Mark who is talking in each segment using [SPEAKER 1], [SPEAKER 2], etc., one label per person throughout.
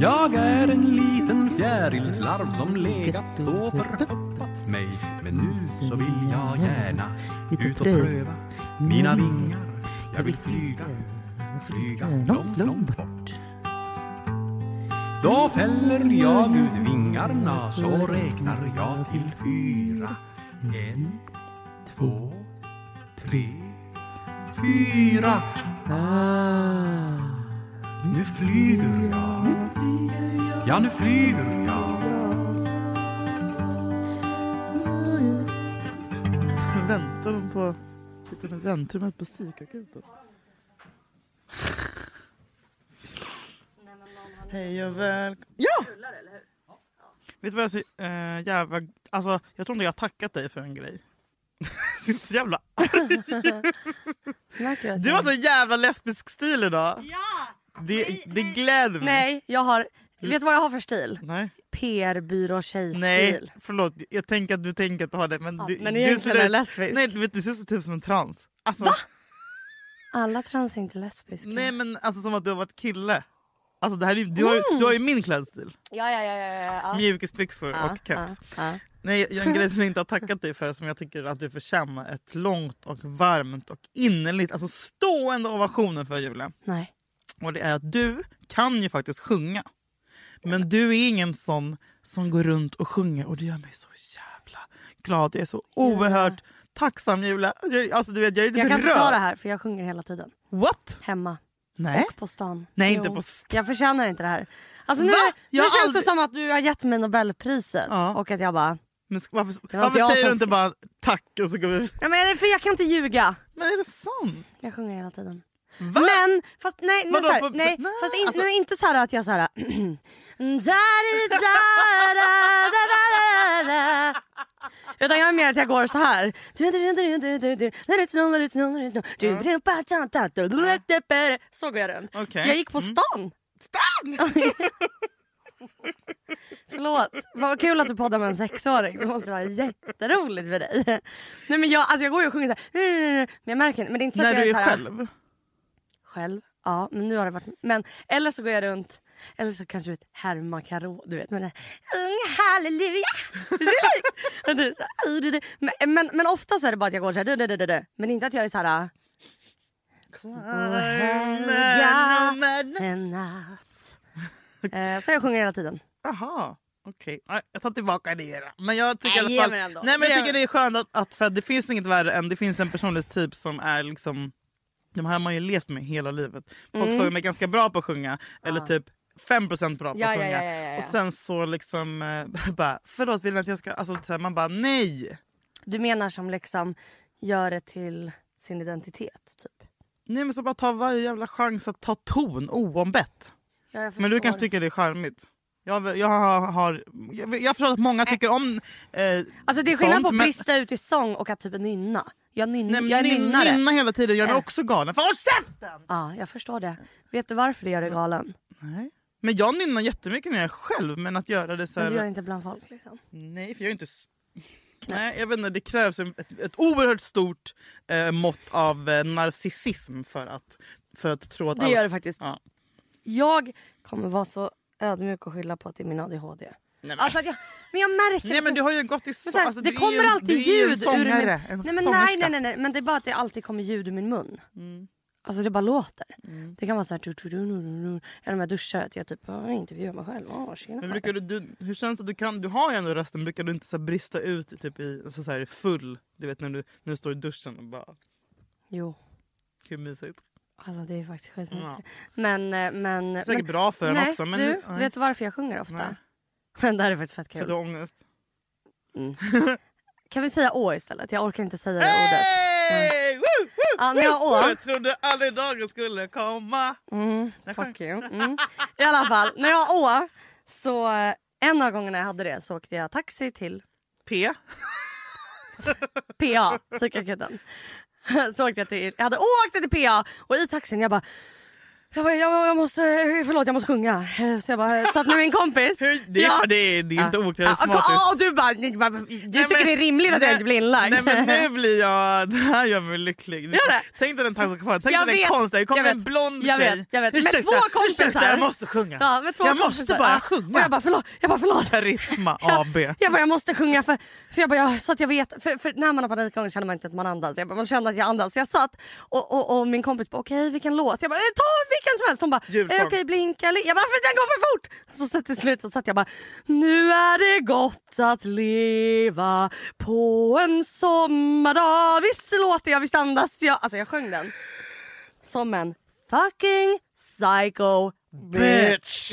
[SPEAKER 1] Jag är en liten fjärilslarv som legat och förhoppat mig Men nu så vill jag gärna ut och pröva mina vingar Jag vill flyga, flyga långt, långt bort Då fäller jag ut vingarna så räknar jag till fyra En, två, tre, fyra
[SPEAKER 2] Ah,
[SPEAKER 1] Nu flyger jag, ja nu flyger jag
[SPEAKER 2] väntar de på... Sitter de i väntrummet på psykakuten? Hej och välkommen... Ja! Vet du vad jag så eh, jävla... Alltså, jag tror inte jag har tackat dig för en grej. Jag är så jävla
[SPEAKER 3] Märker att
[SPEAKER 2] Du
[SPEAKER 3] jag-
[SPEAKER 2] har så jävla lesbisk stil idag.
[SPEAKER 3] Ja!
[SPEAKER 2] Det,
[SPEAKER 3] Nej,
[SPEAKER 2] det
[SPEAKER 3] nej.
[SPEAKER 2] gläder mig.
[SPEAKER 3] Nej, jag har... Vet du vad jag har för stil?
[SPEAKER 2] Nej.
[SPEAKER 3] PR-byrå-tjejstil.
[SPEAKER 2] Nej, förlåt. Jag tänker att du tänker att du har det. Men,
[SPEAKER 3] Ja,
[SPEAKER 2] du,
[SPEAKER 3] men
[SPEAKER 2] du ser
[SPEAKER 3] egentligen är jag
[SPEAKER 2] ut-
[SPEAKER 3] lesbisk.
[SPEAKER 2] Nej, du vet, du ser så typ som en trans. Alltså,
[SPEAKER 3] Alla trans är inte lesbiska.
[SPEAKER 2] Nej men alltså som att du har varit kille. Alltså, det här är, ju- du, har, ju- du har ju min klädstil.
[SPEAKER 3] Ja, ja, ja. ja, ja, Mm. ja.
[SPEAKER 2] Mjukisbyxor
[SPEAKER 3] Ja,
[SPEAKER 2] och caps.
[SPEAKER 3] ja, ja.
[SPEAKER 2] Nej, jag, en grej som jag inte har tackat dig för som jag tycker att du förtjänar ett långt och varmt och innerligt, alltså stående ovationer för Julia.
[SPEAKER 3] Nej.
[SPEAKER 2] Och det är att du kan ju faktiskt sjunga. Men du är ingen sån som går runt och sjunger och det gör mig så jävla glad. Jag är så oerhört tacksam Julia. Jag- Alltså du vet, jag är lite
[SPEAKER 3] Jag kan inte ta
[SPEAKER 2] berörd.
[SPEAKER 3] det här för jag sjunger hela tiden.
[SPEAKER 2] What?
[SPEAKER 3] Hemma.
[SPEAKER 2] Nej.
[SPEAKER 3] Och på stan.
[SPEAKER 2] Nej, inte på stan.
[SPEAKER 3] Jag förtjänar inte det här. Alltså nu,
[SPEAKER 2] Va?
[SPEAKER 3] nu
[SPEAKER 2] Jag har
[SPEAKER 3] känns
[SPEAKER 2] aldrig-
[SPEAKER 3] det som att du har gett mig Nobelpriset
[SPEAKER 2] Ja.
[SPEAKER 3] och att jag bara...
[SPEAKER 2] Men sk- varför
[SPEAKER 3] Det var inte
[SPEAKER 2] varför
[SPEAKER 3] jag
[SPEAKER 2] säger
[SPEAKER 3] som
[SPEAKER 2] du inte
[SPEAKER 3] skrev.
[SPEAKER 2] bara tack och så går vi
[SPEAKER 3] Nej men för jag kan inte ljuga.
[SPEAKER 2] Men är det sant?
[SPEAKER 3] Jag sjunger hela tiden.
[SPEAKER 2] Va?
[SPEAKER 3] Men fast nej, nu
[SPEAKER 2] Vadå,
[SPEAKER 3] så här,
[SPEAKER 2] på-
[SPEAKER 3] nej,
[SPEAKER 2] nej,
[SPEAKER 3] fast in,
[SPEAKER 2] alltså-
[SPEAKER 3] nu är inte så här att jag så här... Dari, da, da, da, da, da, da. Utan jag är mer att jag går så här. Så går jag runt.
[SPEAKER 2] Okej. Mm.
[SPEAKER 3] Jag gick på stan.
[SPEAKER 2] Stan!
[SPEAKER 3] Förlåt. Vad kul att du poddar med en sexåring. Det måste vara jätteroligt för dig. Nej men jag, alltså jag går ju och sjunger så här. Men jag märker inte. Men det är inte så
[SPEAKER 2] När
[SPEAKER 3] att jag
[SPEAKER 2] du är
[SPEAKER 3] så här,
[SPEAKER 2] själv?
[SPEAKER 3] själv. Ja, men nu har det varit... Men, eller så går jag runt... Eller så kanske du vet Herman Caro, du vet med det Ung halleluja! Och du så här, "Uh, du, du." men, men, men ofta så är det bara att jag går så här, du, du, du, du, du. men inte att jag är så här... En natt. Eh, Så jag sjunger hela tiden.
[SPEAKER 2] Jaha, okej. Nej, Jag tar tillbaka det. Men jag tycker,
[SPEAKER 3] Nej,
[SPEAKER 2] i
[SPEAKER 3] ge
[SPEAKER 2] alla
[SPEAKER 3] mig
[SPEAKER 2] fall,
[SPEAKER 3] den då.
[SPEAKER 2] nej, men
[SPEAKER 3] Ge
[SPEAKER 2] jag tycker
[SPEAKER 3] mig.
[SPEAKER 2] det är skönt att, att för att det finns inget värre än det finns en personlighetstyp som är liksom... De här har man ju levt med hela livet. Folk
[SPEAKER 3] Mm.
[SPEAKER 2] som är ganska bra på att sjunga eller typ 5% bra på
[SPEAKER 3] Ah. Ja,
[SPEAKER 2] att
[SPEAKER 3] ja,
[SPEAKER 2] sjunga.
[SPEAKER 3] ja, ja, ja, ja.
[SPEAKER 2] Och sen så liksom eh, bara förlåt vill du att jag ska... Alltså, så här, man bara nej.
[SPEAKER 3] Du menar som liksom gör det till sin identitet typ.
[SPEAKER 2] Nej men så bara ta varje jävla chans att ta ton oombett.
[SPEAKER 3] Ja, jag
[SPEAKER 2] Men du kanske
[SPEAKER 3] förstår.
[SPEAKER 2] tycker det är charmigt? Jag, jag, har, har, jag, jag förstår att många tycker om... Eh,
[SPEAKER 3] Alltså det är skillnad
[SPEAKER 2] sånt,
[SPEAKER 3] på att
[SPEAKER 2] men-
[SPEAKER 3] brista ut i sång och att typ nynna. Jag, nyn,
[SPEAKER 2] Nej, men
[SPEAKER 3] jag är
[SPEAKER 2] nyn-
[SPEAKER 3] nynnare.
[SPEAKER 2] Nynna hela tiden gör mig
[SPEAKER 3] Ja.
[SPEAKER 2] också galen. För håll käften!
[SPEAKER 3] Ja, jag förstår det. Vet du varför du gör dig galen?
[SPEAKER 2] Nej. Men jag nynnar jättemycket när jag är själv. Men att göra det så
[SPEAKER 3] Men
[SPEAKER 2] här...
[SPEAKER 3] du gör det inte bland folk liksom.
[SPEAKER 2] Nej, för jag är inte... s- Nej, jag vet inte, det krävs en- ett, ett oerhört stort eh, mått av eh, narcissism för att, för att tro att...
[SPEAKER 3] Det
[SPEAKER 2] alla-
[SPEAKER 3] gör det faktiskt.
[SPEAKER 2] Ja.
[SPEAKER 3] Jag kommer vara så ödmjuk och skylla på att det är min ADHD.
[SPEAKER 2] Nej, men,
[SPEAKER 3] Alltså att jag, men jag märker
[SPEAKER 2] nej, men du har ju gått i...
[SPEAKER 3] Alltså,
[SPEAKER 2] Så,
[SPEAKER 3] Men så här,
[SPEAKER 2] alltså,
[SPEAKER 3] det
[SPEAKER 2] du är
[SPEAKER 3] kommer
[SPEAKER 2] ju en-
[SPEAKER 3] alltid
[SPEAKER 2] du är ju en
[SPEAKER 3] ljud ur
[SPEAKER 2] sångare, en
[SPEAKER 3] min... nej, men nej,
[SPEAKER 2] sångerska.
[SPEAKER 3] nej, nej, nej, men det är bara att det alltid kommer ljud ur min mun.
[SPEAKER 2] Mm.
[SPEAKER 3] Alltså det bara låter. Det kan vara så här... Eller om jag duschar, att jag typ jag intervjuar mig själv. Åh, tjena.
[SPEAKER 2] Men brukar du, du, hur känns det? Du, kan, du har ju ändå rösten. Brukar du inte så här brista ut i typ i så så här full? Du vet när du, när du står i duschen och bara...
[SPEAKER 3] Jo,
[SPEAKER 2] Hur mysigt.
[SPEAKER 3] alltså det är faktiskt skitmysigt.
[SPEAKER 2] Ja.
[SPEAKER 3] Men, eh, men...
[SPEAKER 2] Säkert
[SPEAKER 3] men
[SPEAKER 2] bra för en
[SPEAKER 3] nej,
[SPEAKER 2] också. Men
[SPEAKER 3] du,
[SPEAKER 2] nej, nej,
[SPEAKER 3] vet du varför jag sjunger
[SPEAKER 2] Nej.
[SPEAKER 3] ofta? det här är faktiskt fett
[SPEAKER 2] för att
[SPEAKER 3] kul.
[SPEAKER 2] du har ångest.
[SPEAKER 3] Kan vi säga å istället? Jag orkar inte säga det
[SPEAKER 2] Äh!
[SPEAKER 3] ordet. Mm.
[SPEAKER 2] Hey! Woo, woo,
[SPEAKER 3] Ja, men jag
[SPEAKER 2] woo!
[SPEAKER 3] å.
[SPEAKER 2] Jag trodde aldrig dagen skulle komma.
[SPEAKER 3] Mm, fuck you. Mm. I alla fall, när jag å så eh, en av gångerna jag hade det så åkte jag taxi till
[SPEAKER 2] P.
[SPEAKER 3] PA, psykakuten. Så åkte jag till, jag hade åkt till PA och i taxin jag bara Jag bara, jag, jag måste, förlåt jag måste sjunga. Eh, Så jag bara, satt med min kompis.
[SPEAKER 2] Hur- Det är,
[SPEAKER 3] Ja.
[SPEAKER 2] det är, det är inte
[SPEAKER 3] Ja,
[SPEAKER 2] okarismatiskt.
[SPEAKER 3] och- och du bara, ni- du
[SPEAKER 2] Nej,
[SPEAKER 3] tycker
[SPEAKER 2] men-
[SPEAKER 3] det är rimligt att
[SPEAKER 2] nej,
[SPEAKER 3] jag inte blir inlagd.
[SPEAKER 2] Nej men nu blir jag, det här gör mig lycklig.
[SPEAKER 3] Gör det?
[SPEAKER 2] Tänk dig den taxichauffören, tänk
[SPEAKER 3] Jag
[SPEAKER 2] dig den
[SPEAKER 3] vet,
[SPEAKER 2] konstiga, det kommer
[SPEAKER 3] jag
[SPEAKER 2] en
[SPEAKER 3] vet,
[SPEAKER 2] blond
[SPEAKER 3] jag
[SPEAKER 2] tjej.
[SPEAKER 3] vet, jag vet. Men
[SPEAKER 2] Ursäkta,
[SPEAKER 3] två kompisar.
[SPEAKER 2] ursäkta jag måste sjunga.
[SPEAKER 3] Ja, med två
[SPEAKER 2] jag
[SPEAKER 3] kompisar.
[SPEAKER 2] måste bara
[SPEAKER 3] Ja.
[SPEAKER 2] sjunga.
[SPEAKER 3] Och jag bara förlåt, jag bara förlåt.
[SPEAKER 2] Karisma
[SPEAKER 3] Ja.
[SPEAKER 2] AB.
[SPEAKER 3] Jag bara jag måste sjunga för, för, jag bara, jag, så att jag vet. För, för när man har panikångest känner man inte att man andas. Jag bara, man kände att jag andas. Så jag satt och, och, och min kompis bara okej vilken låt? Jag bara eh, ta vilken som helst. Hon bara
[SPEAKER 2] Julsång.
[SPEAKER 3] eh, okej blinka li-" Jag bara för den går för fort. Så, så till slut så satt jag bara nu är det gott att leva på en sommardag. Visst låter jag, visst andas jag. Alltså jag sjöng den. Som en fucking psycho
[SPEAKER 2] Bitch.
[SPEAKER 3] bitch.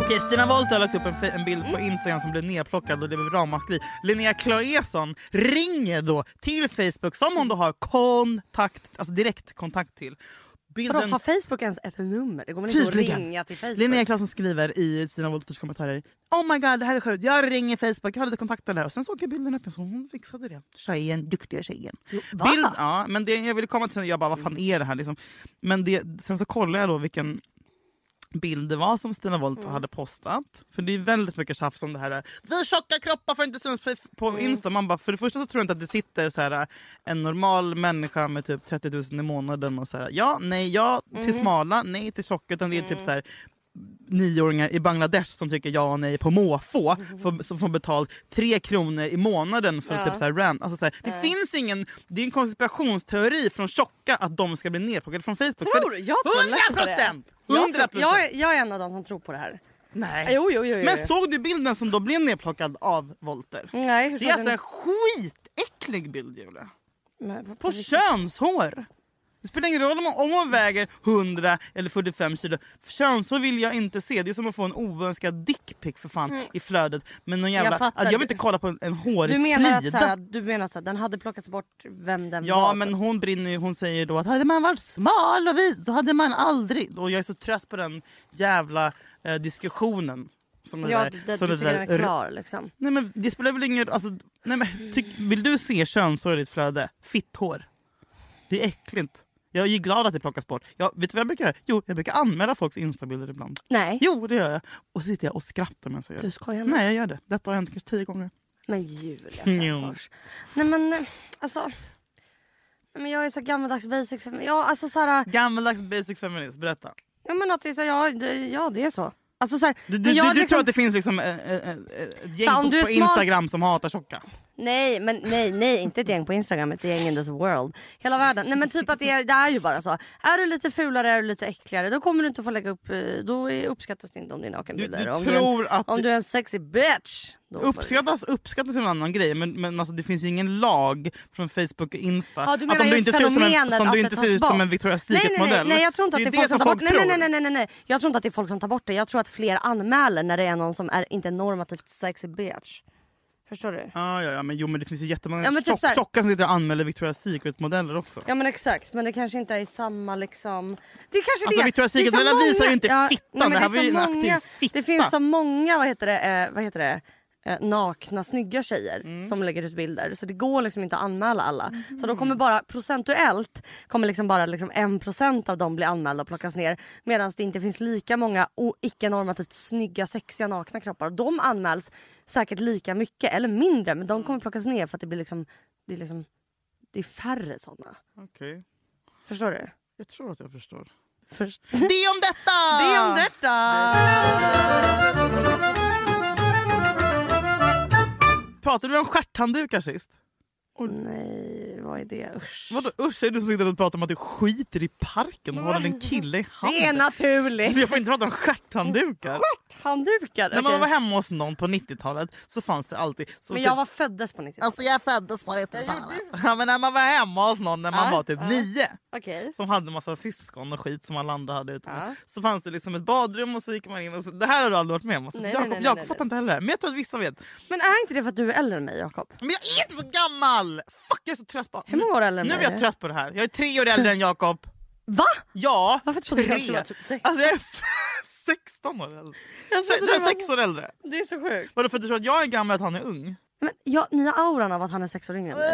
[SPEAKER 2] Okej, Stina Wollter har lagt upp en, fe- en bild på Instagram som blev nedplockad och det blev ramaskri. Linnea Claesson ringer då till Facebook som hon då har kontakt, alltså direkt kontakt till.
[SPEAKER 3] Vadå,
[SPEAKER 2] Bilden
[SPEAKER 3] har Facebook ens ett nummer? Det går väl inte att
[SPEAKER 2] Tydligen.
[SPEAKER 3] ringa till Facebook?
[SPEAKER 2] Linnea Claesson skriver i sina Wolters kommentarer Oh my god, det här är sjukt. Jag ringer Facebook, jag hade kontaktat där. Och sen så åker bilden upp, så hon fixade det. Tjejen, duktiga tjejen.
[SPEAKER 3] va?
[SPEAKER 2] Bild, ja, men det jag ville komma till sen, jag bara vad fan är det här liksom. Men det, sen så kollade jag då vilken bild det var som Stina Wollter
[SPEAKER 3] Mm.
[SPEAKER 2] hade postat. För det är väldigt mycket tjafs om det här. Vi tjocka kroppar får inte synas på, på
[SPEAKER 3] Mm.
[SPEAKER 2] Insta. Man bara, för det första så tror jag inte att det sitter så här, en normal människa med typ 30 000 i månaden och så här, ja, nej, ja till
[SPEAKER 3] Mm.
[SPEAKER 2] smala, nej till tjocka. Utan det är typ så här nioåringar i Bangladesh som tycker ja och nej på måfå får- som får betalt tre kronor i månaden för typ så här rant. Alltså så här, det finns ingen, det är en konspirationsteori från tjocka att de ska bli nedplockade från Facebook. För
[SPEAKER 3] Tror du? Jag tror lätt på det.
[SPEAKER 2] 100%!
[SPEAKER 3] Jag,
[SPEAKER 2] 100%!
[SPEAKER 3] tror, jag, är- jag är en av de som tror på det här. Eh,
[SPEAKER 2] Nej.
[SPEAKER 3] Jo, jo, jo. jo.
[SPEAKER 2] Men såg du bilden som då blev nedplockad av Volter?
[SPEAKER 3] Nej, hur
[SPEAKER 2] Det är
[SPEAKER 3] såg
[SPEAKER 2] alltså
[SPEAKER 3] den
[SPEAKER 2] en skitäcklig bild Julia.
[SPEAKER 3] Men på-
[SPEAKER 2] På könshår! Det spelar ingen roll om hon, om hon väger 100 eller 45 kilo. Könshår vill jag inte se. Det är som att få en oönskad dickpic för fan i flödet. Men någon jävla,
[SPEAKER 3] Mm. Jag
[SPEAKER 2] jag,
[SPEAKER 3] fattar.
[SPEAKER 2] jag vill inte kolla på en, en hårig
[SPEAKER 3] Du menar, att, så
[SPEAKER 2] slida.
[SPEAKER 3] här, du menar att så här, den hade plockats bort vem den
[SPEAKER 2] Ja
[SPEAKER 3] var?
[SPEAKER 2] men hon brinner ju, hon säger då att hade man varit smal och vit så hade man aldrig... Och jag är så trött på den jävla eh, diskussionen. Som det
[SPEAKER 3] ja
[SPEAKER 2] där,
[SPEAKER 3] du, du,
[SPEAKER 2] som
[SPEAKER 3] du
[SPEAKER 2] det
[SPEAKER 3] tycker
[SPEAKER 2] där
[SPEAKER 3] den är klar liksom.
[SPEAKER 2] Nej men det spelar väl ingen alltså, nej, men, tyck, Vill du se könshår i ditt flöde? Fitthår. Det är äckligt. Jag är glad att det plockas bort. Jag, vet du vad jag brukar göra? Jo, jag brukar anmäla folks instabilder ibland.
[SPEAKER 3] Nej,
[SPEAKER 2] Jo, det gör jag. Och så sitter jag och skrattar medan jag gör
[SPEAKER 3] du
[SPEAKER 2] det.
[SPEAKER 3] skojar nu.
[SPEAKER 2] Nej, jag gör det. Detta har hänt kanske tio gånger.
[SPEAKER 3] Men Julia
[SPEAKER 2] Jo.
[SPEAKER 3] Frändfors. Nej men eh, alltså. nej, Men jag är så gammaldags basic för mig. Ja, alltså, så här,
[SPEAKER 2] Gammaldags basic feminist, berätta.
[SPEAKER 3] jag menar att det är så, ja, det, ja det är så. Alltså, så här,
[SPEAKER 2] Du,
[SPEAKER 3] men
[SPEAKER 2] du,
[SPEAKER 3] jag
[SPEAKER 2] du, du
[SPEAKER 3] liksom-
[SPEAKER 2] tror att det finns liksom eh, eh, eh, ett gäng
[SPEAKER 3] Så om
[SPEAKER 2] på,
[SPEAKER 3] du är
[SPEAKER 2] på
[SPEAKER 3] smal-
[SPEAKER 2] Instagram som hatar tjocka?
[SPEAKER 3] Nej, men nej, nej, inte ett gäng på Instagram, ett gäng in this world. Hela världen. Nej men typ att det är, det är ju bara så. Är du lite fulare, är du lite äckligare, då kommer du inte få lägga upp, eh, då är, uppskattas det inte om det är
[SPEAKER 2] Du,
[SPEAKER 3] nakenbilder.
[SPEAKER 2] du
[SPEAKER 3] om, du är en,
[SPEAKER 2] tror att...
[SPEAKER 3] om du är en sexy bitch. Då får du-
[SPEAKER 2] Uppskattas, uppskattas är en annan grej men, men alltså, det finns ju ingen lag från Facebook och Insta.
[SPEAKER 3] Ja, du
[SPEAKER 2] att om
[SPEAKER 3] menar
[SPEAKER 2] du
[SPEAKER 3] just
[SPEAKER 2] inte ser ut som en,
[SPEAKER 3] fenomenet
[SPEAKER 2] som
[SPEAKER 3] att
[SPEAKER 2] du
[SPEAKER 3] det
[SPEAKER 2] inte
[SPEAKER 3] tas
[SPEAKER 2] ser ut som
[SPEAKER 3] bort.
[SPEAKER 2] en Victoria's
[SPEAKER 3] Nej, nej, nej,
[SPEAKER 2] Secret-modell.
[SPEAKER 3] nej, jag tror inte att
[SPEAKER 2] det
[SPEAKER 3] det
[SPEAKER 2] är det
[SPEAKER 3] är folk
[SPEAKER 2] som
[SPEAKER 3] som tar bort.
[SPEAKER 2] folk
[SPEAKER 3] Nej,
[SPEAKER 2] tror.
[SPEAKER 3] nej, nej, nej, nej, nej. Jag tror inte att det är folk som tar bort det. Jag tror att fler anmäler när det är någon som är inte normativt sexy bitch. Förstår du?
[SPEAKER 2] Ja, ja, ja, men, jo, men det finns ju jättemånga
[SPEAKER 3] Ja, men typ
[SPEAKER 2] tjock,
[SPEAKER 3] så här-
[SPEAKER 2] tjocka som sitter och anmäler Victoria's Secret-modeller också.
[SPEAKER 3] Ja men exakt, men det kanske inte är samma liksom... Det är kanske
[SPEAKER 2] Alltså,
[SPEAKER 3] det.
[SPEAKER 2] Victoria's
[SPEAKER 3] Det är så
[SPEAKER 2] Secret-modellerna
[SPEAKER 3] många-
[SPEAKER 2] visar ju inte fittan.
[SPEAKER 3] nej, men
[SPEAKER 2] Det här
[SPEAKER 3] är
[SPEAKER 2] var ju
[SPEAKER 3] så
[SPEAKER 2] en aktiv
[SPEAKER 3] många-
[SPEAKER 2] fitta.
[SPEAKER 3] Det finns så många, vad heter det, eh, vad heter det? Eh, nakna snygga tjejer
[SPEAKER 2] Mm.
[SPEAKER 3] som lägger ut bilder. Så det går liksom inte att anmäla alla.
[SPEAKER 2] Mhm.
[SPEAKER 3] Så då kommer bara procentuellt kommer liksom bara liksom 1% av dem bli anmälda och plockas ner. Medan det inte finns lika många o- icke-normativt snygga sexiga nakna kroppar. Och de anmäls säkert lika mycket eller mindre men de kommer plockas ner för att det blir liksom, det är, liksom, det är färre sådana.
[SPEAKER 2] Okej,
[SPEAKER 3] Förstår du?
[SPEAKER 2] jag tror att jag förstår.
[SPEAKER 3] Först.
[SPEAKER 2] Det är om detta!
[SPEAKER 3] Det är om detta!
[SPEAKER 2] Pratade vi om stjärthanddukar sist?
[SPEAKER 3] Nej, vad är det? Usch.
[SPEAKER 2] Vadå usch, är du som sitter och pratar om att du skiter i parken och håller en kille i
[SPEAKER 3] Det är
[SPEAKER 2] handen?
[SPEAKER 3] naturligt.
[SPEAKER 2] Jag får inte prata om stjärthanddukar.
[SPEAKER 3] Handdukar?
[SPEAKER 2] När man
[SPEAKER 3] okej.
[SPEAKER 2] var hemma hos någon på 90-talet så fanns det alltid... Så
[SPEAKER 3] Men
[SPEAKER 2] typ-
[SPEAKER 3] jag var föddes på 90-talet.
[SPEAKER 2] Alltså jag föddes på 90-talet. Ja, men när man var hemma hos någon när man
[SPEAKER 3] Ja,
[SPEAKER 2] var typ
[SPEAKER 3] ja.
[SPEAKER 2] nio
[SPEAKER 3] Okej.
[SPEAKER 2] som hade massa syskon och skit som alla andra hade utomlands.
[SPEAKER 3] Ja.
[SPEAKER 2] Så fanns det liksom ett badrum och så gick man in och så, det här har du aldrig varit med om. Alltså,
[SPEAKER 3] Nej, nej,
[SPEAKER 2] Jakob,
[SPEAKER 3] nej, nej,
[SPEAKER 2] Jakob
[SPEAKER 3] nej.
[SPEAKER 2] fattar inte heller det här. Men jag tror att vissa vet.
[SPEAKER 3] Men är inte det för att du är äldre än mig Jakob?
[SPEAKER 2] Men jag är inte så gammal! Fuck jag är så trött på
[SPEAKER 3] Hur många år äldre än
[SPEAKER 2] Nu är
[SPEAKER 3] mig?
[SPEAKER 2] jag trött på det här. Jag är tre år äldre än Jakob.
[SPEAKER 3] Va?
[SPEAKER 2] Ja,
[SPEAKER 3] Varför trodde jag att du var
[SPEAKER 2] tre.
[SPEAKER 3] typ sex?
[SPEAKER 2] Alltså jag är f- 16 år äldre.
[SPEAKER 3] Jag
[SPEAKER 2] Se,
[SPEAKER 3] trodde
[SPEAKER 2] Du
[SPEAKER 3] det,
[SPEAKER 2] är
[SPEAKER 3] var,
[SPEAKER 2] sex år äldre.
[SPEAKER 3] det är så sjukt.
[SPEAKER 2] Vadå för att du tror att jag är gammal och att han är ung?
[SPEAKER 3] Men, ja, ni har auran av att han är sex år yngre än dig.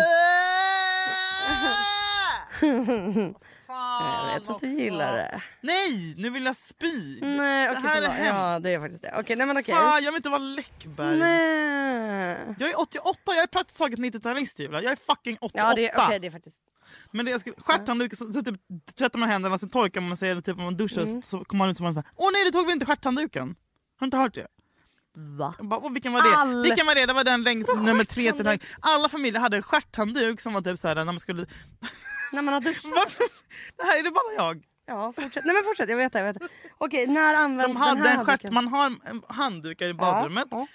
[SPEAKER 2] Fan
[SPEAKER 3] Jag vet att
[SPEAKER 2] också.
[SPEAKER 3] du gillar det.
[SPEAKER 2] Nej, nu vill jag spy.
[SPEAKER 3] Nej,
[SPEAKER 2] det
[SPEAKER 3] okej,
[SPEAKER 2] här är
[SPEAKER 3] förlåt.
[SPEAKER 2] hemskt.
[SPEAKER 3] Ja, det är faktiskt det. Okej, nej men okej.
[SPEAKER 2] Fan, jag vill inte vara Läckberg.
[SPEAKER 3] Nej.
[SPEAKER 2] Jag är 88, jag är praktiskt taget 90-talist Julia. Jag är fucking 88.
[SPEAKER 3] Ja, det är, okej, det är faktiskt...
[SPEAKER 2] Men det jag skulle, stjärthanddukar, så, så typ, tvättar man händerna, sen torkar man sig, eller typ om man duschar
[SPEAKER 3] Mm.
[SPEAKER 2] så, så kommer man ut som man bara Åh nej, du tog väl inte stjärthandduken? Har du inte hört det?
[SPEAKER 3] Va?
[SPEAKER 2] Jag Bara, "Åh, vilken var det?
[SPEAKER 3] All-
[SPEAKER 2] Vilken var det? Det var den längst nummer tre till den här. Alla familjer hade en stjärthandduk som var typ såhär när man skulle...
[SPEAKER 3] När man har duschat?
[SPEAKER 2] Varför? Det här är det bara jag.
[SPEAKER 3] Ja, fortsätt. Nej men fortsätt, jag vet det. Jag vet det. Okej, när används
[SPEAKER 2] De hade
[SPEAKER 3] den här
[SPEAKER 2] en stjärt,
[SPEAKER 3] handduken?
[SPEAKER 2] man har en- handdukar i
[SPEAKER 3] Ja,
[SPEAKER 2] badrummet
[SPEAKER 3] ja.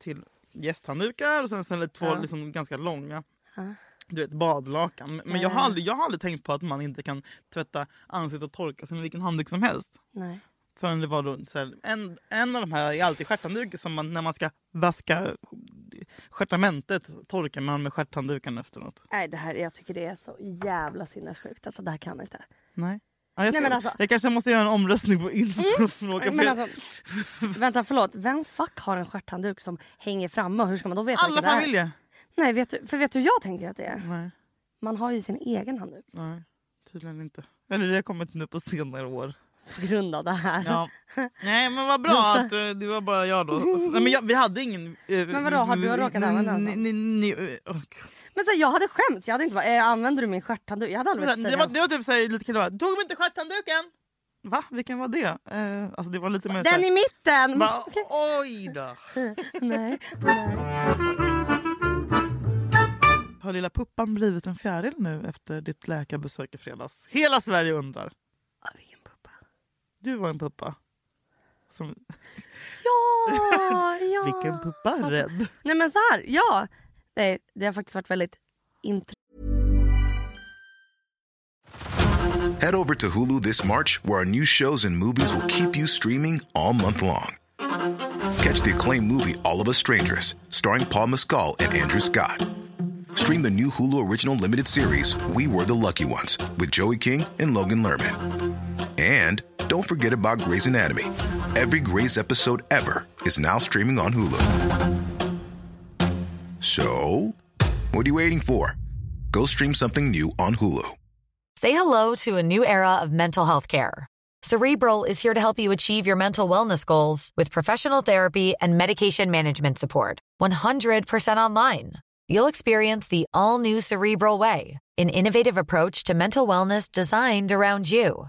[SPEAKER 2] till gästhanddukar och sen, sen två
[SPEAKER 3] Ja.
[SPEAKER 2] liksom, ganska långa
[SPEAKER 3] Ja.
[SPEAKER 2] du vet, badlakan. Men men jag har,
[SPEAKER 3] Ja.
[SPEAKER 2] aldrig, jag har aldrig tänkt på att man inte kan tvätta ansiktet och torka sig med vilken handduk som helst.
[SPEAKER 3] Nej.
[SPEAKER 2] Förrän det var då, så här, en, en av de här är alltid stjärthandduk som man, när man ska vaska stjärtamentet torkar man med stjärthandduken efteråt.
[SPEAKER 3] Nej, det här, jag tycker det är så jävla sinnessjukt. Alltså det här kan jag inte.
[SPEAKER 2] Nej. Ja, jag,
[SPEAKER 3] Nej,
[SPEAKER 2] ska,
[SPEAKER 3] men alltså-
[SPEAKER 2] jag kanske måste göra en omröstning på Insta och fråga. för
[SPEAKER 3] Men alltså, vänta förlåt, vem fuck har en stjärthandduk som hänger framme? Hur ska man då veta
[SPEAKER 2] alla
[SPEAKER 3] vilken det är?
[SPEAKER 2] familjer!
[SPEAKER 3] Nej, vet du, för vet du hur jag tänker att det är?
[SPEAKER 2] Nej,
[SPEAKER 3] Man har ju sin egen handduk
[SPEAKER 2] nej, tydligen inte. Eller det har kommit nu på senare år.
[SPEAKER 3] på grund av det här.
[SPEAKER 2] Ja. Nej men vad bra att eh, det var bara jag då. Nej, men jag, vi hade ingen... eh,
[SPEAKER 3] Men vadå, har du råkat
[SPEAKER 2] ni-
[SPEAKER 3] använda den
[SPEAKER 2] ni-
[SPEAKER 3] då?
[SPEAKER 2] ni- ni- eh, åh, gud.
[SPEAKER 3] Men så, här, jag hade skämt. Jag hade inte bara, eh, använder du min stjärthandduk? Jag hade aldrig velat
[SPEAKER 2] Det
[SPEAKER 3] säga
[SPEAKER 2] var,
[SPEAKER 3] det.
[SPEAKER 2] det var typ såhär, lite kul bara, tog vi inte stjärthandduken? Va? Vilken var det? Eh, alltså det var lite mer
[SPEAKER 3] Den
[SPEAKER 2] såhär,
[SPEAKER 3] i mitten!
[SPEAKER 2] bara, oj då.
[SPEAKER 3] Nej, nej.
[SPEAKER 2] Har lilla puppan blivit en fjäril nu efter ditt läkarbesök i fredags? Hela Sverige undrar.
[SPEAKER 3] Ah, vilken puppa.
[SPEAKER 2] Du var en puppa. Som,
[SPEAKER 3] Ja, ja.
[SPEAKER 2] vilken puppa är rädd?
[SPEAKER 3] Nej men så här, ja. Nej, det har faktiskt varit väldigt int-
[SPEAKER 4] Head over to Hulu this March, where our new shows and movies will keep you streaming all month long. Catch the acclaimed movie All of Us Strangers, starring Paul Mescal and Andrew Scott. Stream the new Hulu original limited series We Were the Lucky Ones with Joey King and Logan Lerman. And don't forget about Grey's Anatomy. Every Grey's episode ever is now streaming on Hulu. So, what are you waiting for? Go stream something new on Hulu.
[SPEAKER 5] Say hello to a new era of mental health care. Cerebral is here to help you achieve your mental wellness goals with professional therapy and medication management support. 100% online. You'll experience the all new Cerebral Way, an innovative approach to mental wellness designed around you.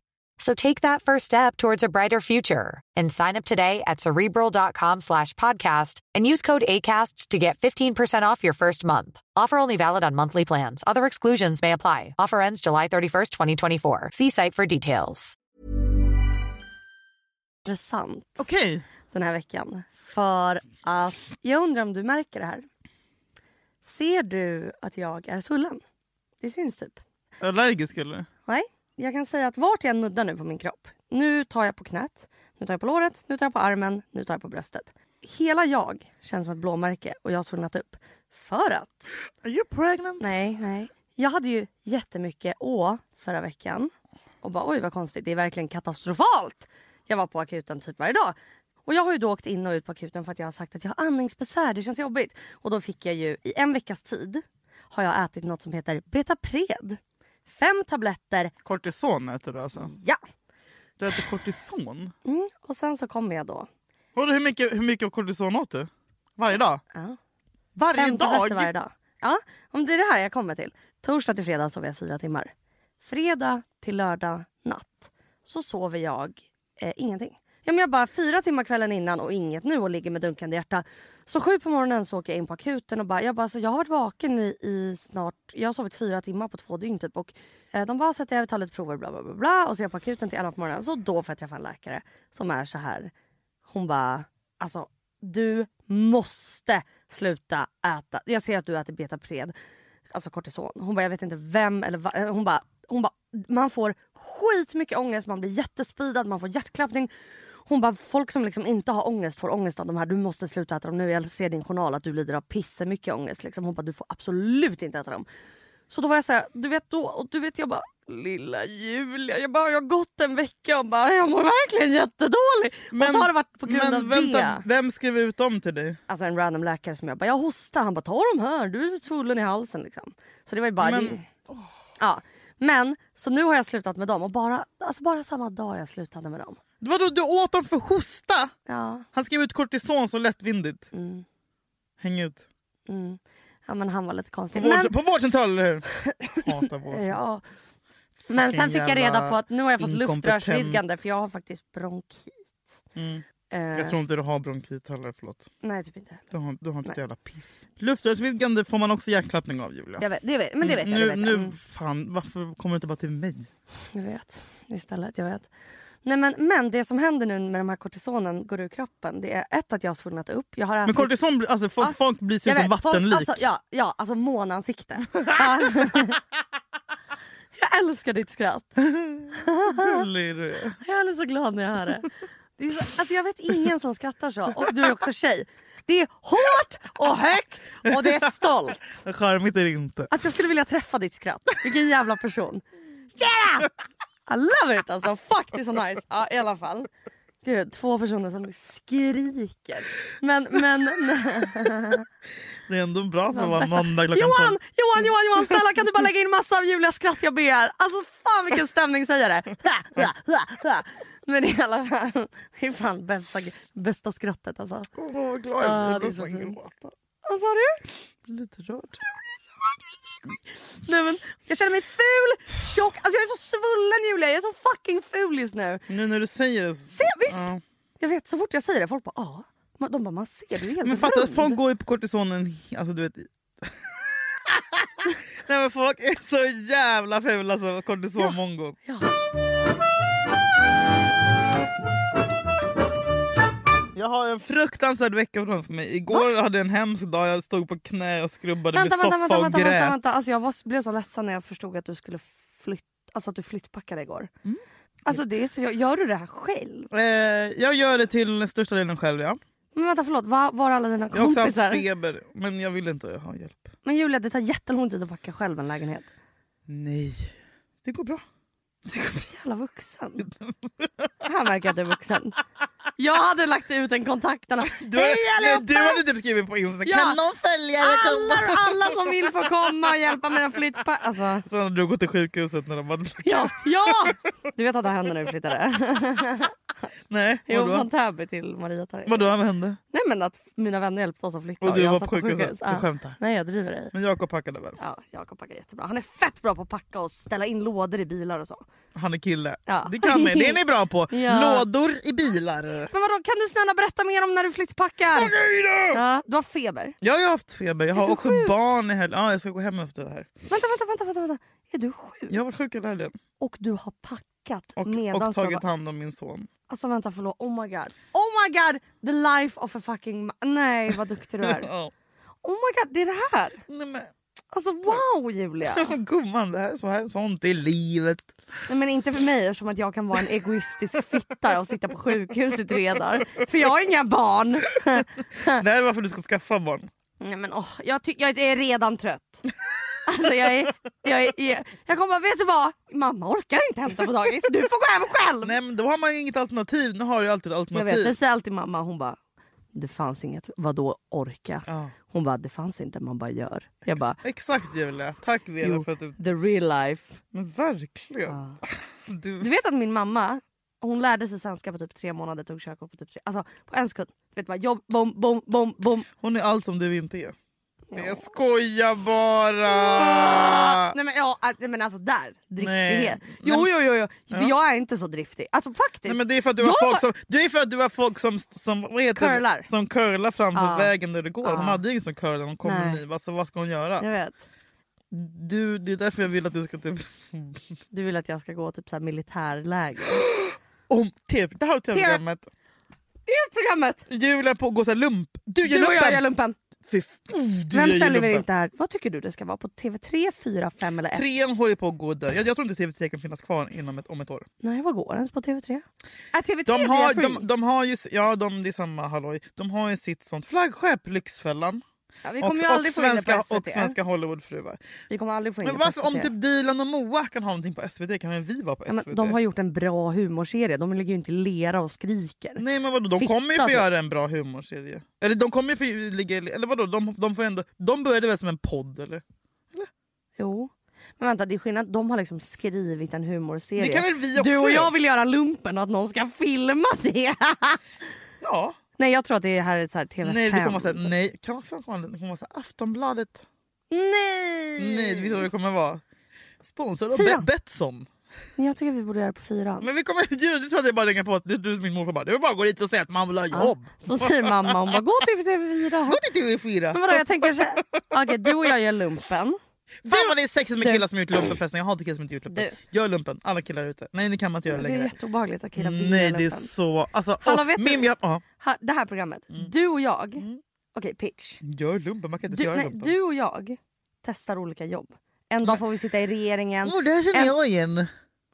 [SPEAKER 5] So take that first step towards a brighter future and sign up today at cerebral.com slash podcast and use code ACAST to get 15% off your first month. Offer only valid on monthly plans. Other exclusions may apply. Offer ends July 31st, 2024. See site for details.
[SPEAKER 3] intressant
[SPEAKER 2] Okej,
[SPEAKER 3] den här veckan. För att jag undrar om du märker det här. Ser du att jag är svullen? Det syns typ.
[SPEAKER 2] allergisk eller?
[SPEAKER 3] Nej, jag kan säga att vart jag nuddar nu på min kropp. Nu tar jag på knät, nu tar jag på låret, nu tar jag på armen, nu tar jag på bröstet. Hela jag känns som ett blåmärke och jag har svullnat upp. För att
[SPEAKER 2] Are you pregnant?
[SPEAKER 3] Nej, nej. Jag hade ju jättemycket å förra veckan. Och bara oj vad konstigt, det är verkligen katastrofalt. Jag var på akuten typ varje dag. Och jag har ju då åkt in och ut på akuten för att jag har sagt att jag har andningsbesvär, det känns jobbigt. Och då fick jag ju, i en veckas tid, har jag ätit något som heter Betapred. Fem tabletter,
[SPEAKER 2] Kortison äter du alltså?
[SPEAKER 3] ja.
[SPEAKER 2] Du äter kortison?
[SPEAKER 3] Mm. Och sen så kom jag då.
[SPEAKER 2] Vadå, hur, mycket, hur mycket kortison åt du? Varje dag?
[SPEAKER 3] Ja.
[SPEAKER 2] Varje
[SPEAKER 3] Fem
[SPEAKER 2] dag?
[SPEAKER 3] tabletter varje dag. Ja, om det är det här jag kommer till. Torsdag till fredag sover jag fyra timmar. Fredag till lördag natt så sover jag eh, ingenting. Ja, men jag bara fyra timmar kvällen innan och inget nu och ligger med dunkande hjärta. Så sju på morgonen så åker jag in på akuten och bara, jag bara, alltså, jag har varit vaken i, i snart, jag har sovit fyra timmar på två dygn typ och eh, de bara sätter jag tar lite prover bla bla bla bla och så är jag på akuten till elva på morgonen. Så då får jag träffa en läkare som är så här, hon bara, alltså du måste sluta äta. Jag ser att du äter betapred. alltså kortison. Hon bara, jag vet inte vem eller vad. Hon bara, hon bara, man får skitmycket ångest, man blir jättespidad, man får hjärtklappning. Hon bara, folk som liksom inte har ångest får ångest av de här. Du måste sluta äta dem nu. Jag ser i din journal att du lider av pissemycket ångest. Liksom. Hon bara, du får absolut inte äta dem. Så då var jag så här, du vet då, och du vet jag bara, lilla Julia, jag bara, jag har gått en vecka och bara, jag mår verkligen jättedålig. och så har det varit på grund
[SPEAKER 2] men
[SPEAKER 3] av
[SPEAKER 2] vänta,
[SPEAKER 3] det.
[SPEAKER 2] vem skrev ut dem till dig?
[SPEAKER 3] Alltså en random läkare som jag bara, jag hostar. Han bara, ta de här, du är svullen i halsen liksom. Så det var ju bara...
[SPEAKER 2] Men-
[SPEAKER 3] det- Ja. Men, så nu har jag slutat med dem och bara, alltså bara samma dag jag slutade med dem.
[SPEAKER 2] Vadå, du åt dem för hosta?
[SPEAKER 3] Ja,
[SPEAKER 2] Han skrev ut kortison så lättvindigt. Häng ut.
[SPEAKER 3] mm. ja men han var lite
[SPEAKER 2] På,
[SPEAKER 3] konstig.
[SPEAKER 2] vård,
[SPEAKER 3] Men,
[SPEAKER 2] på vårdcentralen, eller hur? Hatar vård.
[SPEAKER 3] ja. men sen fick jag
[SPEAKER 2] jävla
[SPEAKER 3] reda på att nu har jag fått
[SPEAKER 2] inkompetent.
[SPEAKER 3] luftrörsvidgande för jag har faktiskt bronkit.
[SPEAKER 2] Mm.
[SPEAKER 3] Eh,
[SPEAKER 2] Jag tror inte du har bronkit heller, förlåt.
[SPEAKER 3] Nej typ inte.
[SPEAKER 2] Du har, du har inte ett
[SPEAKER 3] Nej.
[SPEAKER 2] jävla piss. Luftrörsvidgande får man också hjärtklappning av, Julia.
[SPEAKER 3] Jag vet, det vet, men det vet
[SPEAKER 2] nu,
[SPEAKER 3] jag. Det vet
[SPEAKER 2] nu,
[SPEAKER 3] jag. Mm.
[SPEAKER 2] Fan, varför kommer du inte bara till mig?
[SPEAKER 3] Jag vet. Istället, jag vet. Nej, men, men det som händer nu när de här kortisonen går ur kroppen det är ett att jag har svullnat upp. Jag har ätit,
[SPEAKER 2] Men kortison, blir- alltså, folk,
[SPEAKER 3] Ah. Ja,
[SPEAKER 2] folk blir så
[SPEAKER 3] jag
[SPEAKER 2] som
[SPEAKER 3] vet, folk-
[SPEAKER 2] vattenlik.
[SPEAKER 3] Alltså, ja, ja, alltså månansikte. Ja. jag älskar ditt skratt. ah.
[SPEAKER 2] Gullig du är.
[SPEAKER 3] Jag är så glad när jag hör det. det är så, alltså, jag vet ingen som skrattar så. Och du är också tjej. Det är hårt och högt och det är stolt.
[SPEAKER 2] Charmigt är det inte.
[SPEAKER 3] Alltså jag skulle vilja träffa ditt skratt. Vilken jävla person. Tjena! I love it alltså. Fuck det är så nice. Ja i alla fall. Gud, två personer som skriker. Men, men...
[SPEAKER 2] Det är ändå bra för att vara
[SPEAKER 3] Bästa-
[SPEAKER 2] måndag klockan
[SPEAKER 3] Johan,
[SPEAKER 2] tolv.
[SPEAKER 3] Johan, Johan, Johan, snälla kan du bara lägga in massa av Julias skratt jag ber. Alltså fan vilken stämningshöjare. Men i alla fall, det är fan bästa, bästa skrattet alltså.
[SPEAKER 2] Åh, vad glad jag blir. Jag
[SPEAKER 3] Ja, det är så
[SPEAKER 2] blir nästan
[SPEAKER 3] fint.
[SPEAKER 2] gråta.
[SPEAKER 3] Vad sa du?
[SPEAKER 2] Jag blir Lite rörd.
[SPEAKER 3] Nej, men, jag känner mig ful, tjock, alltså jag är så svullen Julia, jag är så fucking ful just nu.
[SPEAKER 2] Nu när du säger det...
[SPEAKER 3] Se, visst?
[SPEAKER 2] Ja.
[SPEAKER 3] Jag vet, så fort jag säger det, folk bara ja. Man- De bara man ser, du är helt
[SPEAKER 2] Men fatta,
[SPEAKER 3] rund."
[SPEAKER 2] folk går ju på kortisonen... Alltså du vet... Nej men folk är så jävla fula alltså, kortisonmongon.
[SPEAKER 3] Ja.
[SPEAKER 2] Jag har en fruktansvärd vecka framför mig. Igår hade jag en hemsk dag, jag stod på knä och skrubbade
[SPEAKER 3] Vänta,
[SPEAKER 2] med soffa
[SPEAKER 3] vänta, vänta,
[SPEAKER 2] och
[SPEAKER 3] vänta,
[SPEAKER 2] grät.
[SPEAKER 3] vänta, vänta. Alltså jag var, blev så ledsen när jag förstod att du skulle flytta, alltså att du flyttpackade igår.
[SPEAKER 2] Mm.
[SPEAKER 3] Alltså det är så, gör du det här själv?
[SPEAKER 2] Eh, jag gör det till största delen själv ja.
[SPEAKER 3] Men vänta förlåt, var, var alla dina
[SPEAKER 2] Jag har också haft
[SPEAKER 3] kompisar?
[SPEAKER 2] feber men jag vill inte ha hjälp.
[SPEAKER 3] Men Julia det tar jättelång tid att packa själv en lägenhet.
[SPEAKER 2] Nej, det går bra. Det går bra.
[SPEAKER 3] Jävla vuxen. Här märker jag att du är vuxen. Jag hade lagt ut en kontaktannan.
[SPEAKER 2] Du,
[SPEAKER 3] Hej
[SPEAKER 2] hade,
[SPEAKER 3] allihopa!
[SPEAKER 2] du hade typ skrivit på Instagram
[SPEAKER 3] Ja.
[SPEAKER 2] kan någon följa mig?
[SPEAKER 3] alla, alla som vill får komma och hjälpa mig att flytta. Alltså,
[SPEAKER 2] Sen hade du gått till sjukhuset när de hade...
[SPEAKER 3] ja, ja! Du vet att det hände när vi flyttade?
[SPEAKER 2] Nej,
[SPEAKER 3] Jo,
[SPEAKER 2] vadå?
[SPEAKER 3] från Täby till Mariatorget.
[SPEAKER 2] Vadå, vad hände?
[SPEAKER 3] Nej men att mina vänner hjälpte oss att flytta.
[SPEAKER 2] Och du
[SPEAKER 3] jag
[SPEAKER 2] var
[SPEAKER 3] satt
[SPEAKER 2] på sjukhuset? Du
[SPEAKER 3] Ja.
[SPEAKER 2] skämtar?
[SPEAKER 3] Nej jag driver dig.
[SPEAKER 2] Men Jakob packade väl?
[SPEAKER 3] Ja, Jakob packar jättebra. Han är fett bra på att packa och ställa in lådor i bilar och så.
[SPEAKER 2] Han är kille.
[SPEAKER 3] Ja.
[SPEAKER 2] Det kan ni, det är ni bra på.
[SPEAKER 3] Ja.
[SPEAKER 2] Lådor i bilar.
[SPEAKER 3] Men vadå kan du snälla berätta mer om när du flyttpackar?
[SPEAKER 2] Okej då!
[SPEAKER 3] Ja, du har feber.
[SPEAKER 2] Jag har ju haft feber, jag har också barn i helgen. Ja, jag ska gå hem efter det här.
[SPEAKER 3] Vänta, vänta, vänta. vänta, vänta. Är du sjuk?
[SPEAKER 2] Jag har varit sjuk hela helgen
[SPEAKER 3] Och du har packat
[SPEAKER 2] och,
[SPEAKER 3] medan
[SPEAKER 2] och tagit
[SPEAKER 3] du har...
[SPEAKER 2] hand om min son.
[SPEAKER 3] Alltså vänta förlåt. Oh my god. Oh my god! The life of a fucking... ma- Nej vad duktig du är.
[SPEAKER 2] Ja.
[SPEAKER 3] Oh my god det är det här.
[SPEAKER 2] Nej, men,
[SPEAKER 3] Alltså wow Julia.
[SPEAKER 2] gumman, det här, är så här, sånt är livet.
[SPEAKER 3] Nej, men inte för mig eftersom att jag kan vara en egoistisk fitta och sitta på sjukhus i tre dagar. För jag har inga barn.
[SPEAKER 2] Det här är varför du ska skaffa barn.
[SPEAKER 3] Nej, men, åh, jag, ty- jag är redan trött. Alltså, jag, är, jag, är, jag, jag kommer bara, vet du vad? Mamma orkar inte hämta på dagis. Du får gå hem själv.
[SPEAKER 2] Nej, men då har man ju inget alternativ. Nu har du ju alltid ett
[SPEAKER 3] jag vet,
[SPEAKER 2] alternativ.
[SPEAKER 3] det säger alltid mamma. Hon bara, det fanns inget. Vadå orka?
[SPEAKER 2] Ja.
[SPEAKER 3] Hon bara, det fanns inte. Man bara gör. Jag bara,
[SPEAKER 2] Exakt Julia, tack Vera
[SPEAKER 3] Jo.
[SPEAKER 2] för att du...
[SPEAKER 3] the real life.
[SPEAKER 2] Men verkligen.
[SPEAKER 3] Ja.
[SPEAKER 2] Du...
[SPEAKER 3] Du vet att min mamma hon lärde sig svenska på typ tre månader, tog körkort på typ tre... Alltså på en sekund. Vet du vad? Jobb, bom, bom, bom, bom.
[SPEAKER 2] Hon är allt som du inte är.
[SPEAKER 3] Ja.
[SPEAKER 2] Jag skojar bara!
[SPEAKER 3] Ah. Nej men, ja, nej, men alltså där, driftighet.
[SPEAKER 2] Ah. Nej.
[SPEAKER 3] Jo,
[SPEAKER 2] Nej.
[SPEAKER 3] jo, jo, jo. För
[SPEAKER 2] Ja.
[SPEAKER 3] jag är inte så driftig. Alltså faktiskt.
[SPEAKER 2] Nej, men det är för att du har
[SPEAKER 3] Jag
[SPEAKER 2] folk som, det är för att du har folk som, som, vad heter det?
[SPEAKER 3] Curlar.
[SPEAKER 2] som curlar framför
[SPEAKER 3] Ja.
[SPEAKER 2] vägen där du går. Hon
[SPEAKER 3] Ja.
[SPEAKER 2] hade ingen som curlade när hon kom
[SPEAKER 3] Nej.
[SPEAKER 2] ny. Alltså, vad ska hon göra?
[SPEAKER 3] Jag vet.
[SPEAKER 2] Du, det är därför jag vill att du ska typ...
[SPEAKER 3] Du vill att jag ska gå typ så här militärläger.
[SPEAKER 2] Om, typ, det här är
[SPEAKER 3] Tera-
[SPEAKER 2] tv-programmet.
[SPEAKER 3] Det är programmet!
[SPEAKER 2] Julia på går så här lump. Du gör
[SPEAKER 3] Du och jag
[SPEAKER 2] lumpen!
[SPEAKER 3] gör lumpen.
[SPEAKER 2] Fy f- oh, du, jag
[SPEAKER 3] Vem
[SPEAKER 2] gillar
[SPEAKER 3] säljer
[SPEAKER 2] inte.
[SPEAKER 3] inte här? Vad tycker du det ska vara? På TV3, 4, 5 eller 1?
[SPEAKER 2] Trean håller på att gå där. Jag, jag tror inte TV3 kan finnas kvar inom ett, om ett år.
[SPEAKER 3] Nej, vad går ens på TV3? Är TV3
[SPEAKER 2] De har,
[SPEAKER 3] via free?
[SPEAKER 2] de, de har ju, s- ja, de, det är samma halloj. De har ju sitt sånt flaggskepp, Lyxfällan.
[SPEAKER 3] ja, vi
[SPEAKER 2] Och,
[SPEAKER 3] kommer ju
[SPEAKER 2] och,
[SPEAKER 3] aldrig få in det
[SPEAKER 2] svenska,
[SPEAKER 3] på SVT.
[SPEAKER 2] och svenska Hollywoodfruar.
[SPEAKER 3] Vi kommer aldrig få in
[SPEAKER 2] Men
[SPEAKER 3] det på
[SPEAKER 2] varför,
[SPEAKER 3] SVT.
[SPEAKER 2] om typ Dilan och Moa kan ha någonting på SVT, kan väl vi vara på
[SPEAKER 3] ja,
[SPEAKER 2] SVT?
[SPEAKER 3] men de har gjort en bra humorserie. De ligger ju inte i lera och skriker.
[SPEAKER 2] Nej men vadå, de
[SPEAKER 3] Fitta
[SPEAKER 2] kommer ju få
[SPEAKER 3] då.
[SPEAKER 2] göra en bra humorserie. Eller de kommer ju få ligga i- Eller vadå, de, de får ändå... De började väl som en podd eller?
[SPEAKER 3] Jo. Men vänta, det är skillnad. De har liksom skrivit en humorserie.
[SPEAKER 2] Det kan väl vi också
[SPEAKER 3] Du och
[SPEAKER 2] göra?
[SPEAKER 3] jag vill göra lumpen och att någon ska filma det.
[SPEAKER 2] Ja.
[SPEAKER 3] nej, jag tror att det här är så här TV5.
[SPEAKER 2] Nej, det kommer vara såhär, nej, kan fan komma, det kommer vara såhär, Aftonbladet.
[SPEAKER 3] Nej!
[SPEAKER 2] Nej, det vet du vad det kommer vara. Sponsrad av
[SPEAKER 3] Fyra.
[SPEAKER 2] Be- Betsson.
[SPEAKER 3] Jag tycker vi borde göra det på fyran.
[SPEAKER 2] Men vi kommer... Du, du tror att jag bara ringer på att du, du, min morfar bara, du bara går dit och säger att man vill ha
[SPEAKER 3] Ja.
[SPEAKER 2] jobb.
[SPEAKER 3] Så säger mamma, hon bara gå till TV4.
[SPEAKER 2] Gå till TV4.
[SPEAKER 3] Men vadå, jag tänker så här. Okej, du och jag gör lumpen.
[SPEAKER 2] Fan vad det är sexigt med
[SPEAKER 3] Du.
[SPEAKER 2] killar som har gjort lumpen förresten. Jag hatar killar som inte gjort lumpen. Gör lumpen, alla killar ute. Nej det kan man inte göra
[SPEAKER 3] Alltså, det är
[SPEAKER 2] längre.
[SPEAKER 3] jätteobehagligt att killar vill göra
[SPEAKER 2] Nej det är
[SPEAKER 3] lumpen.
[SPEAKER 2] så... Alltså,
[SPEAKER 3] Hallå,
[SPEAKER 2] och
[SPEAKER 3] vet du-
[SPEAKER 2] min, jag, ja.
[SPEAKER 3] Ha- Det här programmet,
[SPEAKER 2] Mm.
[SPEAKER 3] du och jag. Okej, pitch.
[SPEAKER 2] Gör lumpen, man kan inte
[SPEAKER 3] Du,
[SPEAKER 2] göra
[SPEAKER 3] nej,
[SPEAKER 2] lumpen.
[SPEAKER 3] du och jag testar olika jobb. En dag får vi sitta i regeringen.
[SPEAKER 2] Åh, det här känner
[SPEAKER 3] en-
[SPEAKER 2] jag igen.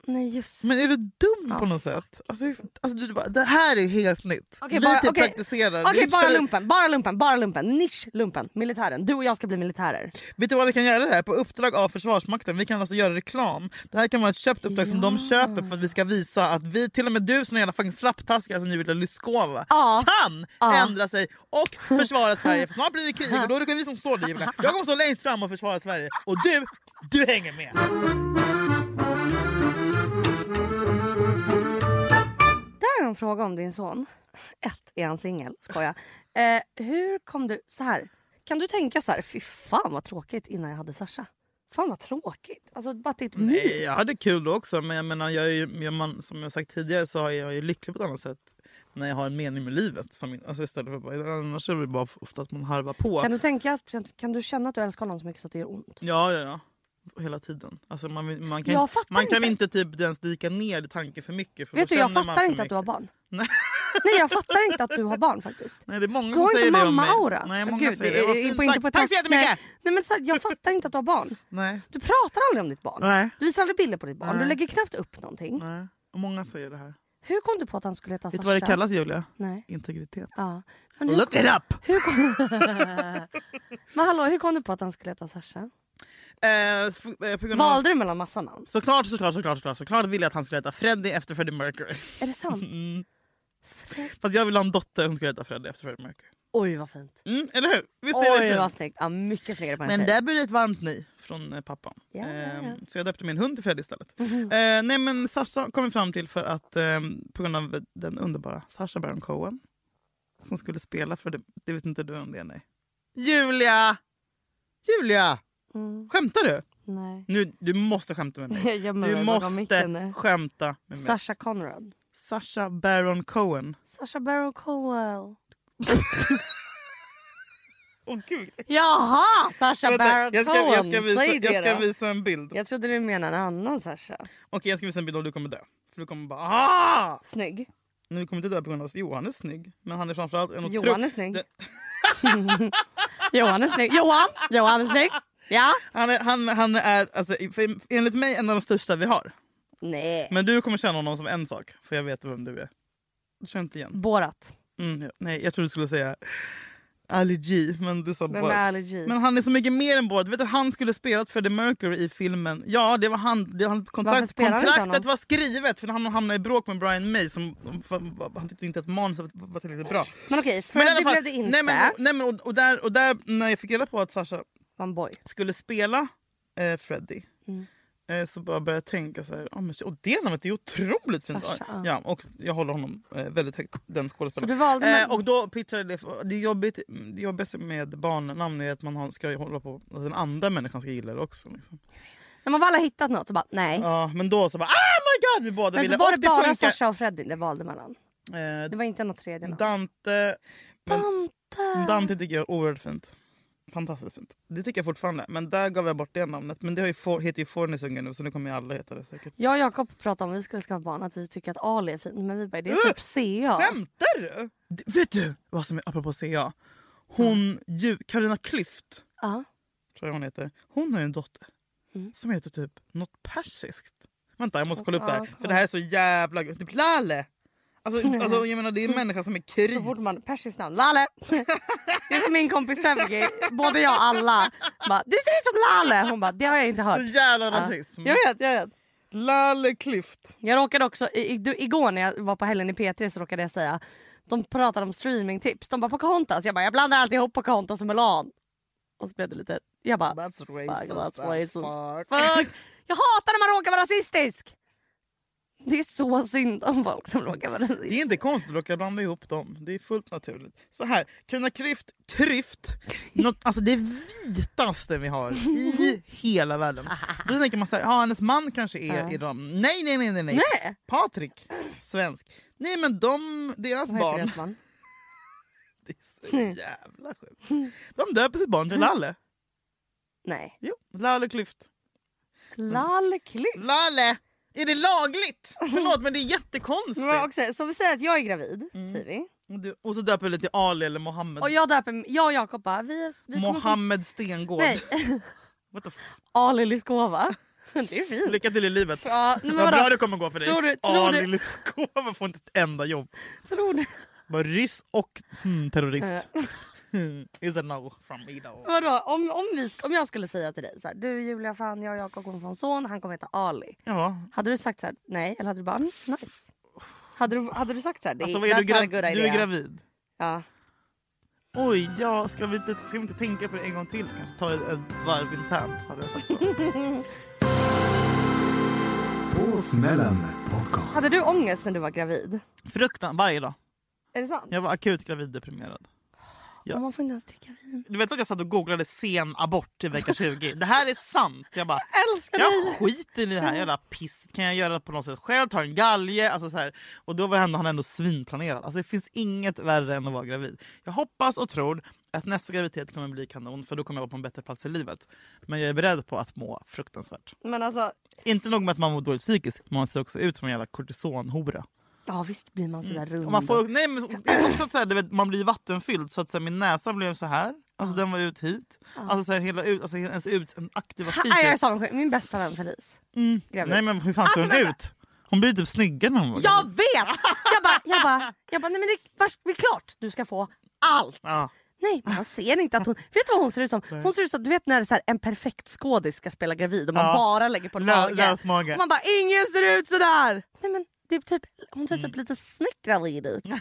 [SPEAKER 3] Nej just
[SPEAKER 2] Men är du dum
[SPEAKER 3] Ja.
[SPEAKER 2] på något sätt? Alltså, hur- alltså, du, bara, det här är helt nytt.
[SPEAKER 3] Okej,
[SPEAKER 2] vi
[SPEAKER 3] bara-
[SPEAKER 2] typ
[SPEAKER 3] okej.
[SPEAKER 2] praktiserar.
[SPEAKER 3] Okej,
[SPEAKER 2] Vi
[SPEAKER 3] bara
[SPEAKER 2] kan-
[SPEAKER 3] lumpen, bara lumpen, bara lumpen. Nisch lumpen, militären. Du och jag ska bli militärer.
[SPEAKER 2] Vet du vad vi kan göra det här? På uppdrag av Försvarsmakten. Vi kan alltså göra reklam. Det här kan vara ett köpt uppdrag som de köper för att vi ska visa att vi, till och med du som är jävla fucking slapptaskar som nu vill lyskova,
[SPEAKER 3] Ja.
[SPEAKER 2] kan
[SPEAKER 3] Ja.
[SPEAKER 2] ändra sig och försvara Sverige. För snart blir det krig och då är det vi som står där. Julia. Jag kommer stå längst fram och försvara Sverige. Och du, du hänger med.
[SPEAKER 3] Mm. Där är en fråga om din son. Ett, är han singel? Skoja. Eh, hur kom du... så här. Kan du tänka så här, fy fan vad tråkigt innan jag hade Sasha. Fan vad tråkigt. Alltså bara att det är ett
[SPEAKER 2] Nej,
[SPEAKER 3] mus.
[SPEAKER 2] jag hade kul då också, men jag menar, jag är ju, jag, man, som jag sagt tidigare så är jag ju lycklig på ett annat sätt när jag har en mening med livet. Som, alltså istället för bara, annars är det bara ofta att man harvar på.
[SPEAKER 3] Kan du, tänka, att- kan du känna att du älskar honom så mycket så att det gör ont?
[SPEAKER 2] Ja, ja, ja. Hela tiden. Alltså man, vill- man kan,
[SPEAKER 3] Jag fattar
[SPEAKER 2] man kan
[SPEAKER 3] inte.
[SPEAKER 2] inte typ ens dyka ner i tanken för mycket. För
[SPEAKER 3] Vet
[SPEAKER 2] då
[SPEAKER 3] du, jag
[SPEAKER 2] känner man
[SPEAKER 3] fattar
[SPEAKER 2] för
[SPEAKER 3] inte att du har
[SPEAKER 2] mycket.
[SPEAKER 3] barn.
[SPEAKER 2] Nej.
[SPEAKER 3] Nej, jag fattar inte att du har barn faktiskt.
[SPEAKER 2] Nej, det är många
[SPEAKER 3] Du har
[SPEAKER 2] som
[SPEAKER 3] inte
[SPEAKER 2] säger det om mig.
[SPEAKER 3] mamma-aura.
[SPEAKER 2] Nej, många
[SPEAKER 3] Gud,
[SPEAKER 2] säger
[SPEAKER 3] det
[SPEAKER 2] det.
[SPEAKER 3] är
[SPEAKER 2] Vad
[SPEAKER 3] ju
[SPEAKER 2] fint
[SPEAKER 3] på-
[SPEAKER 2] sagt.
[SPEAKER 3] inte på ett
[SPEAKER 2] Tack så
[SPEAKER 3] sätt.
[SPEAKER 2] jättemycket!
[SPEAKER 3] Nej, nej, men så, här, jag fattar inte att du har barn.
[SPEAKER 2] Nej.
[SPEAKER 3] Du pratar aldrig om ditt barn.
[SPEAKER 2] Nej.
[SPEAKER 3] Du visar aldrig bilder på ditt barn. Du
[SPEAKER 2] Nej.
[SPEAKER 3] lägger knappt upp någonting.
[SPEAKER 2] Nej. Och Många säger det här.
[SPEAKER 3] Hur kom du på att han skulle heta
[SPEAKER 2] Vet du vad det
[SPEAKER 3] Sasha?
[SPEAKER 2] kallas Julia?
[SPEAKER 3] Nej.
[SPEAKER 2] Integritet.
[SPEAKER 3] Ja. Men, hur,
[SPEAKER 2] Look it up!
[SPEAKER 3] hur kom... men hallå, hur kom du på att han skulle heta Sasha?
[SPEAKER 2] Eh, f- eh, på grund av-
[SPEAKER 3] Valde du mellan massa namn?
[SPEAKER 2] Såklart, såklart, såklart, såklart, såklart ville jag att han skulle heta Freddie efter Freddie Mercury.
[SPEAKER 3] Är det sant?
[SPEAKER 2] Mm. Fast jag ville ha en dotter som skulle heta Freddie efter Freddie Mercury.
[SPEAKER 3] Oj vad fint.
[SPEAKER 2] Mm, eller hur? Visst är
[SPEAKER 3] Oj
[SPEAKER 2] det
[SPEAKER 3] vad
[SPEAKER 2] fint?
[SPEAKER 3] snyggt. Ja, mycket snyggare på en
[SPEAKER 2] Men
[SPEAKER 3] tjej.
[SPEAKER 2] där blev det ett varmt nej från eh, pappan.
[SPEAKER 3] Ja, ja, Mhm. ja.
[SPEAKER 2] Ehm, Så jag döpte min hund till Freddie istället. Eh, nej men Sasha kom vi fram till för att ehm, på grund av den underbara Sasha Baron Cohen som skulle spela för det, det vet inte du om det är nej. Julia! Julia!
[SPEAKER 3] Mm,
[SPEAKER 2] Skämtar du?
[SPEAKER 3] nej.
[SPEAKER 2] Nu, du måste skämta med mig.
[SPEAKER 3] Jag gömmer
[SPEAKER 2] Du
[SPEAKER 3] mig bakom micken
[SPEAKER 2] måste
[SPEAKER 3] nu.
[SPEAKER 2] skämta med mig.
[SPEAKER 3] Sasha Conrad.
[SPEAKER 2] Sasha Baron Cohen.
[SPEAKER 3] Sasha Baron Cohen.
[SPEAKER 2] Åh gud.
[SPEAKER 3] Jaha! Sasha Baron
[SPEAKER 2] Vänta, jag, ska, jag, ska
[SPEAKER 3] Cohen.
[SPEAKER 2] visa,
[SPEAKER 3] Säg det
[SPEAKER 2] jag ska
[SPEAKER 3] då.
[SPEAKER 2] visa en bild.
[SPEAKER 3] Jag trodde du menade en annan Sasha.
[SPEAKER 2] Okej, jag ska visa en bild och du kommer dö. För du kommer bara ah!
[SPEAKER 3] Snygg.
[SPEAKER 2] Nu kommer inte dö på grund av oss. Johan är snygg. Men han är framförallt en otro-
[SPEAKER 3] Johan är snygg.
[SPEAKER 2] Det-
[SPEAKER 3] Johan är snygg. Johan! Johan är snygg. Ja.
[SPEAKER 2] Han är, han, han är alltså, för- enligt mig en av de största vi har.
[SPEAKER 3] Nej.
[SPEAKER 2] Men du kommer känna honom som en sak. För jag vet vem du är. Du känner inte igen.
[SPEAKER 3] Borat.
[SPEAKER 2] Mm, ja. Nej, jag trodde du skulle säga Ali G. Men du sa
[SPEAKER 3] Vem
[SPEAKER 2] Borat.
[SPEAKER 3] är allergi?
[SPEAKER 2] Men han är så mycket mer än Borat. Vet du, han skulle spelat Freddie Mercury i filmen. Ja, det var han. Det var han
[SPEAKER 3] Varför
[SPEAKER 2] kontrakt,
[SPEAKER 3] spelar han inte
[SPEAKER 2] kontraktet
[SPEAKER 3] honom?
[SPEAKER 2] var skrivet för han hamnade i bråk med Brian May. Som, han tyckte inte att manuset var tillräckligt bra.
[SPEAKER 3] Men okej,
[SPEAKER 2] Men i
[SPEAKER 3] Freddy
[SPEAKER 2] alla fall,
[SPEAKER 3] blev det inte.
[SPEAKER 2] Nej, men, nej, men, och, och, där, och där när jag fick reda på att Sasha
[SPEAKER 3] Var en boy.
[SPEAKER 2] skulle spela eh, Freddy
[SPEAKER 3] Mm.
[SPEAKER 2] eh, så bara började jag tänka så här, ah, men, shit, och det namnet är ju otroligt fint.
[SPEAKER 3] Sasha, ja.
[SPEAKER 2] Ja, och jag håller honom eh, väldigt högt, den skådespelaren.
[SPEAKER 3] Så du valde mellan-
[SPEAKER 2] eh, och då pitchade jag det, för- det, är jobbigt, det jobbigaste med barnnamn är att man har- ska ju hålla på, alltså, den andra människan ska gilla det också. Liksom.
[SPEAKER 3] När man väl har hittat något så bara nej.
[SPEAKER 2] Ja, men då så bara ah my god vi båda
[SPEAKER 3] men
[SPEAKER 2] ville.
[SPEAKER 3] så var
[SPEAKER 2] och
[SPEAKER 3] det bara Sasha och Freddy det valde mellan.
[SPEAKER 2] Eh,
[SPEAKER 3] Det var inte något tredje namn.
[SPEAKER 2] Dante, men-
[SPEAKER 3] Dante.
[SPEAKER 2] Dante tycker jag är oerhört fint. Fantastiskt fint. Det tycker jag fortfarande. Men där gav jag bort det namnet. Men det har ju for, heter ju Fornisungen nu så nu kommer ju alla heta det säkert.
[SPEAKER 3] Jag och Jakob pratade om att vi skulle skaffa barn, att vi tycker att Ali
[SPEAKER 2] Uh!
[SPEAKER 3] är fint. Men vi bara, det är typ CA.
[SPEAKER 2] Skämtar du? D- Vet du vad som är apropå CA?
[SPEAKER 3] Mm.
[SPEAKER 2] Hon, ju- Carolina Klüft
[SPEAKER 3] Ja.
[SPEAKER 2] tror jag hon heter. Hon har ju en dotter
[SPEAKER 3] Mm.
[SPEAKER 2] som heter typ något persiskt. Vänta jag måste kolla upp det här. För det här är så jävla grymt. Typ Lale. Alltså, alltså jag menar det är en människa som är krit.
[SPEAKER 3] Mm. Så fort man persiskt namn, Lale. Det är som min kompis Sevgi, både jag och alla. Bara, du ser ut som Lale. Hon bara, det har jag inte hört.
[SPEAKER 2] Så jävla
[SPEAKER 3] Ja.
[SPEAKER 2] rasism.
[SPEAKER 3] Jag vet, jag vet.
[SPEAKER 2] Lale Klüft.
[SPEAKER 3] Jag råkade också, i, i, igår när jag var på helgen i P3 så råkade jag säga, de pratade om streamingtips. De bara Pocahontas. Jag bara, jag blandar alltid ihop Pocahontas och Mulan. Och så blev det lite, jag bara,
[SPEAKER 2] That's racist
[SPEAKER 3] that's
[SPEAKER 2] as
[SPEAKER 3] racist.
[SPEAKER 2] fuck.
[SPEAKER 3] fuck. Jag hatar när man råkar vara rasistisk. Det är så synd om folk som råkar vara
[SPEAKER 2] Det
[SPEAKER 3] rasistiska.
[SPEAKER 2] är inte konstigt att råka blanda ihop dem. Det är fullt naturligt. Så här, Carolina Klüft, Kryft, något, alltså det vitaste vi har i hela världen. Då tänker man så här, ja hennes man kanske är iran. Nej, nej, nej, nej, nej.
[SPEAKER 3] Nej.
[SPEAKER 2] Patrik, svensk. Nej men de, deras
[SPEAKER 3] Vad heter
[SPEAKER 2] barn,
[SPEAKER 3] det, man?
[SPEAKER 2] det är så jävla sjukt. De döper sitt barn till Lalle.
[SPEAKER 3] Nej.
[SPEAKER 2] Jo, Lalle Klüft.
[SPEAKER 3] Mm. Lallklipp.
[SPEAKER 2] Lalle! Är det lagligt? Förlåt men det är jättekonstigt.
[SPEAKER 3] Så vi säger att jag är gravid, säger vi.
[SPEAKER 2] Du- Och så döper du det till Ali eller Mohammed.
[SPEAKER 3] Mm. Och jag döper, jag och Jakob bara, vi, är- vi kommer få-
[SPEAKER 2] Mohammed Stengård.
[SPEAKER 3] Nej,
[SPEAKER 2] What the f-
[SPEAKER 3] Ali Lyskova. Det är fint.
[SPEAKER 2] Lycka till i livet.
[SPEAKER 3] Ja, nej, men
[SPEAKER 2] Vad
[SPEAKER 3] vadå?
[SPEAKER 2] bra det kommer gå för dig.
[SPEAKER 3] Tror du- tror
[SPEAKER 2] ah,
[SPEAKER 3] du-
[SPEAKER 2] lille Skåva får inte ett enda jobb.
[SPEAKER 3] Tror du?
[SPEAKER 2] Bara ryss och hmm, terrorist. Is a no from me though.
[SPEAKER 3] Vadå? Om, om, vi, sk- om jag skulle säga till dig så här, du Julia, fan, jag och Jakob kommer få en son, han kommer heta Ali.
[SPEAKER 2] Ja.
[SPEAKER 3] Hade du sagt så här, nej? Eller hade du bara, mm, nice? Hade du, hade du sagt så här, det
[SPEAKER 2] Alltså,
[SPEAKER 3] är
[SPEAKER 2] vad är du,
[SPEAKER 3] that's not a
[SPEAKER 2] gra-
[SPEAKER 3] good
[SPEAKER 2] du är
[SPEAKER 3] idea.
[SPEAKER 2] gravid.
[SPEAKER 3] Ja.
[SPEAKER 2] Oj, ja, ska, vi inte, ska vi inte tänka på det en gång till? Kanske ta ett, ett varv internt. Hade jag sagt då.
[SPEAKER 1] På smällen podcast.
[SPEAKER 3] Hade du ångest när du var gravid?
[SPEAKER 2] Fruktan varje dag.
[SPEAKER 3] Är det sant?
[SPEAKER 2] Jag var akut graviddeprimerad.
[SPEAKER 3] Ja. Man får inte ens dricka vin.
[SPEAKER 2] Du vet att jag satt och googlade sen abort i vecka 20. Det här är sant. Jag bara,
[SPEAKER 3] Älskar dig!
[SPEAKER 2] Jag skiter i det här jävla pisset. Kan jag göra på något sätt själv? Ta en galge? Alltså så här. Och då var han, han ändå svinplanerad. Alltså det finns inget värre än att vara gravid. Jag hoppas och tror att nästa graviditet kommer bli kanon för då kommer jag vara på en bättre plats i livet. Men jag är beredd på att må fruktansvärt.
[SPEAKER 3] Men alltså,
[SPEAKER 2] Inte nog med att man mår dåligt psykiskt, man ser också ut som en jävla kortisonhora.
[SPEAKER 3] ja visst blir man sådär rund.
[SPEAKER 2] Och Mm. man, får, nej, men, det är också att så här, du vet, man blir vattenfylld så att så här, min näsa blev så här. Alltså den var ut hit. Alltså, så här, hela, ut- alltså ens ut, en aktiva
[SPEAKER 3] Ha, jag är så Min bästa vän Felice. Gravid.
[SPEAKER 2] Mm. Nej men hur fan
[SPEAKER 3] Alltså,
[SPEAKER 2] ser hon ut? Hon blir typ snyggare när hon var
[SPEAKER 3] Jag vet! Jag bara, jag bara, jag bara nej men det, vars, det är klart du ska få allt.
[SPEAKER 2] Ja.
[SPEAKER 3] Nej man ser inte att hon, vet du vad hon ser ut som? Hon ser ut som, du vet när det är så här, en perfekt skådis ska spela gravid och man
[SPEAKER 2] Ja.
[SPEAKER 3] bara lägger på en
[SPEAKER 2] Lö-
[SPEAKER 3] mage.
[SPEAKER 2] lös mage.
[SPEAKER 3] Och man bara ingen ser ut sådär! Nej men det är typ, hon ser typ
[SPEAKER 2] Mm.
[SPEAKER 3] lite snyggravid ut.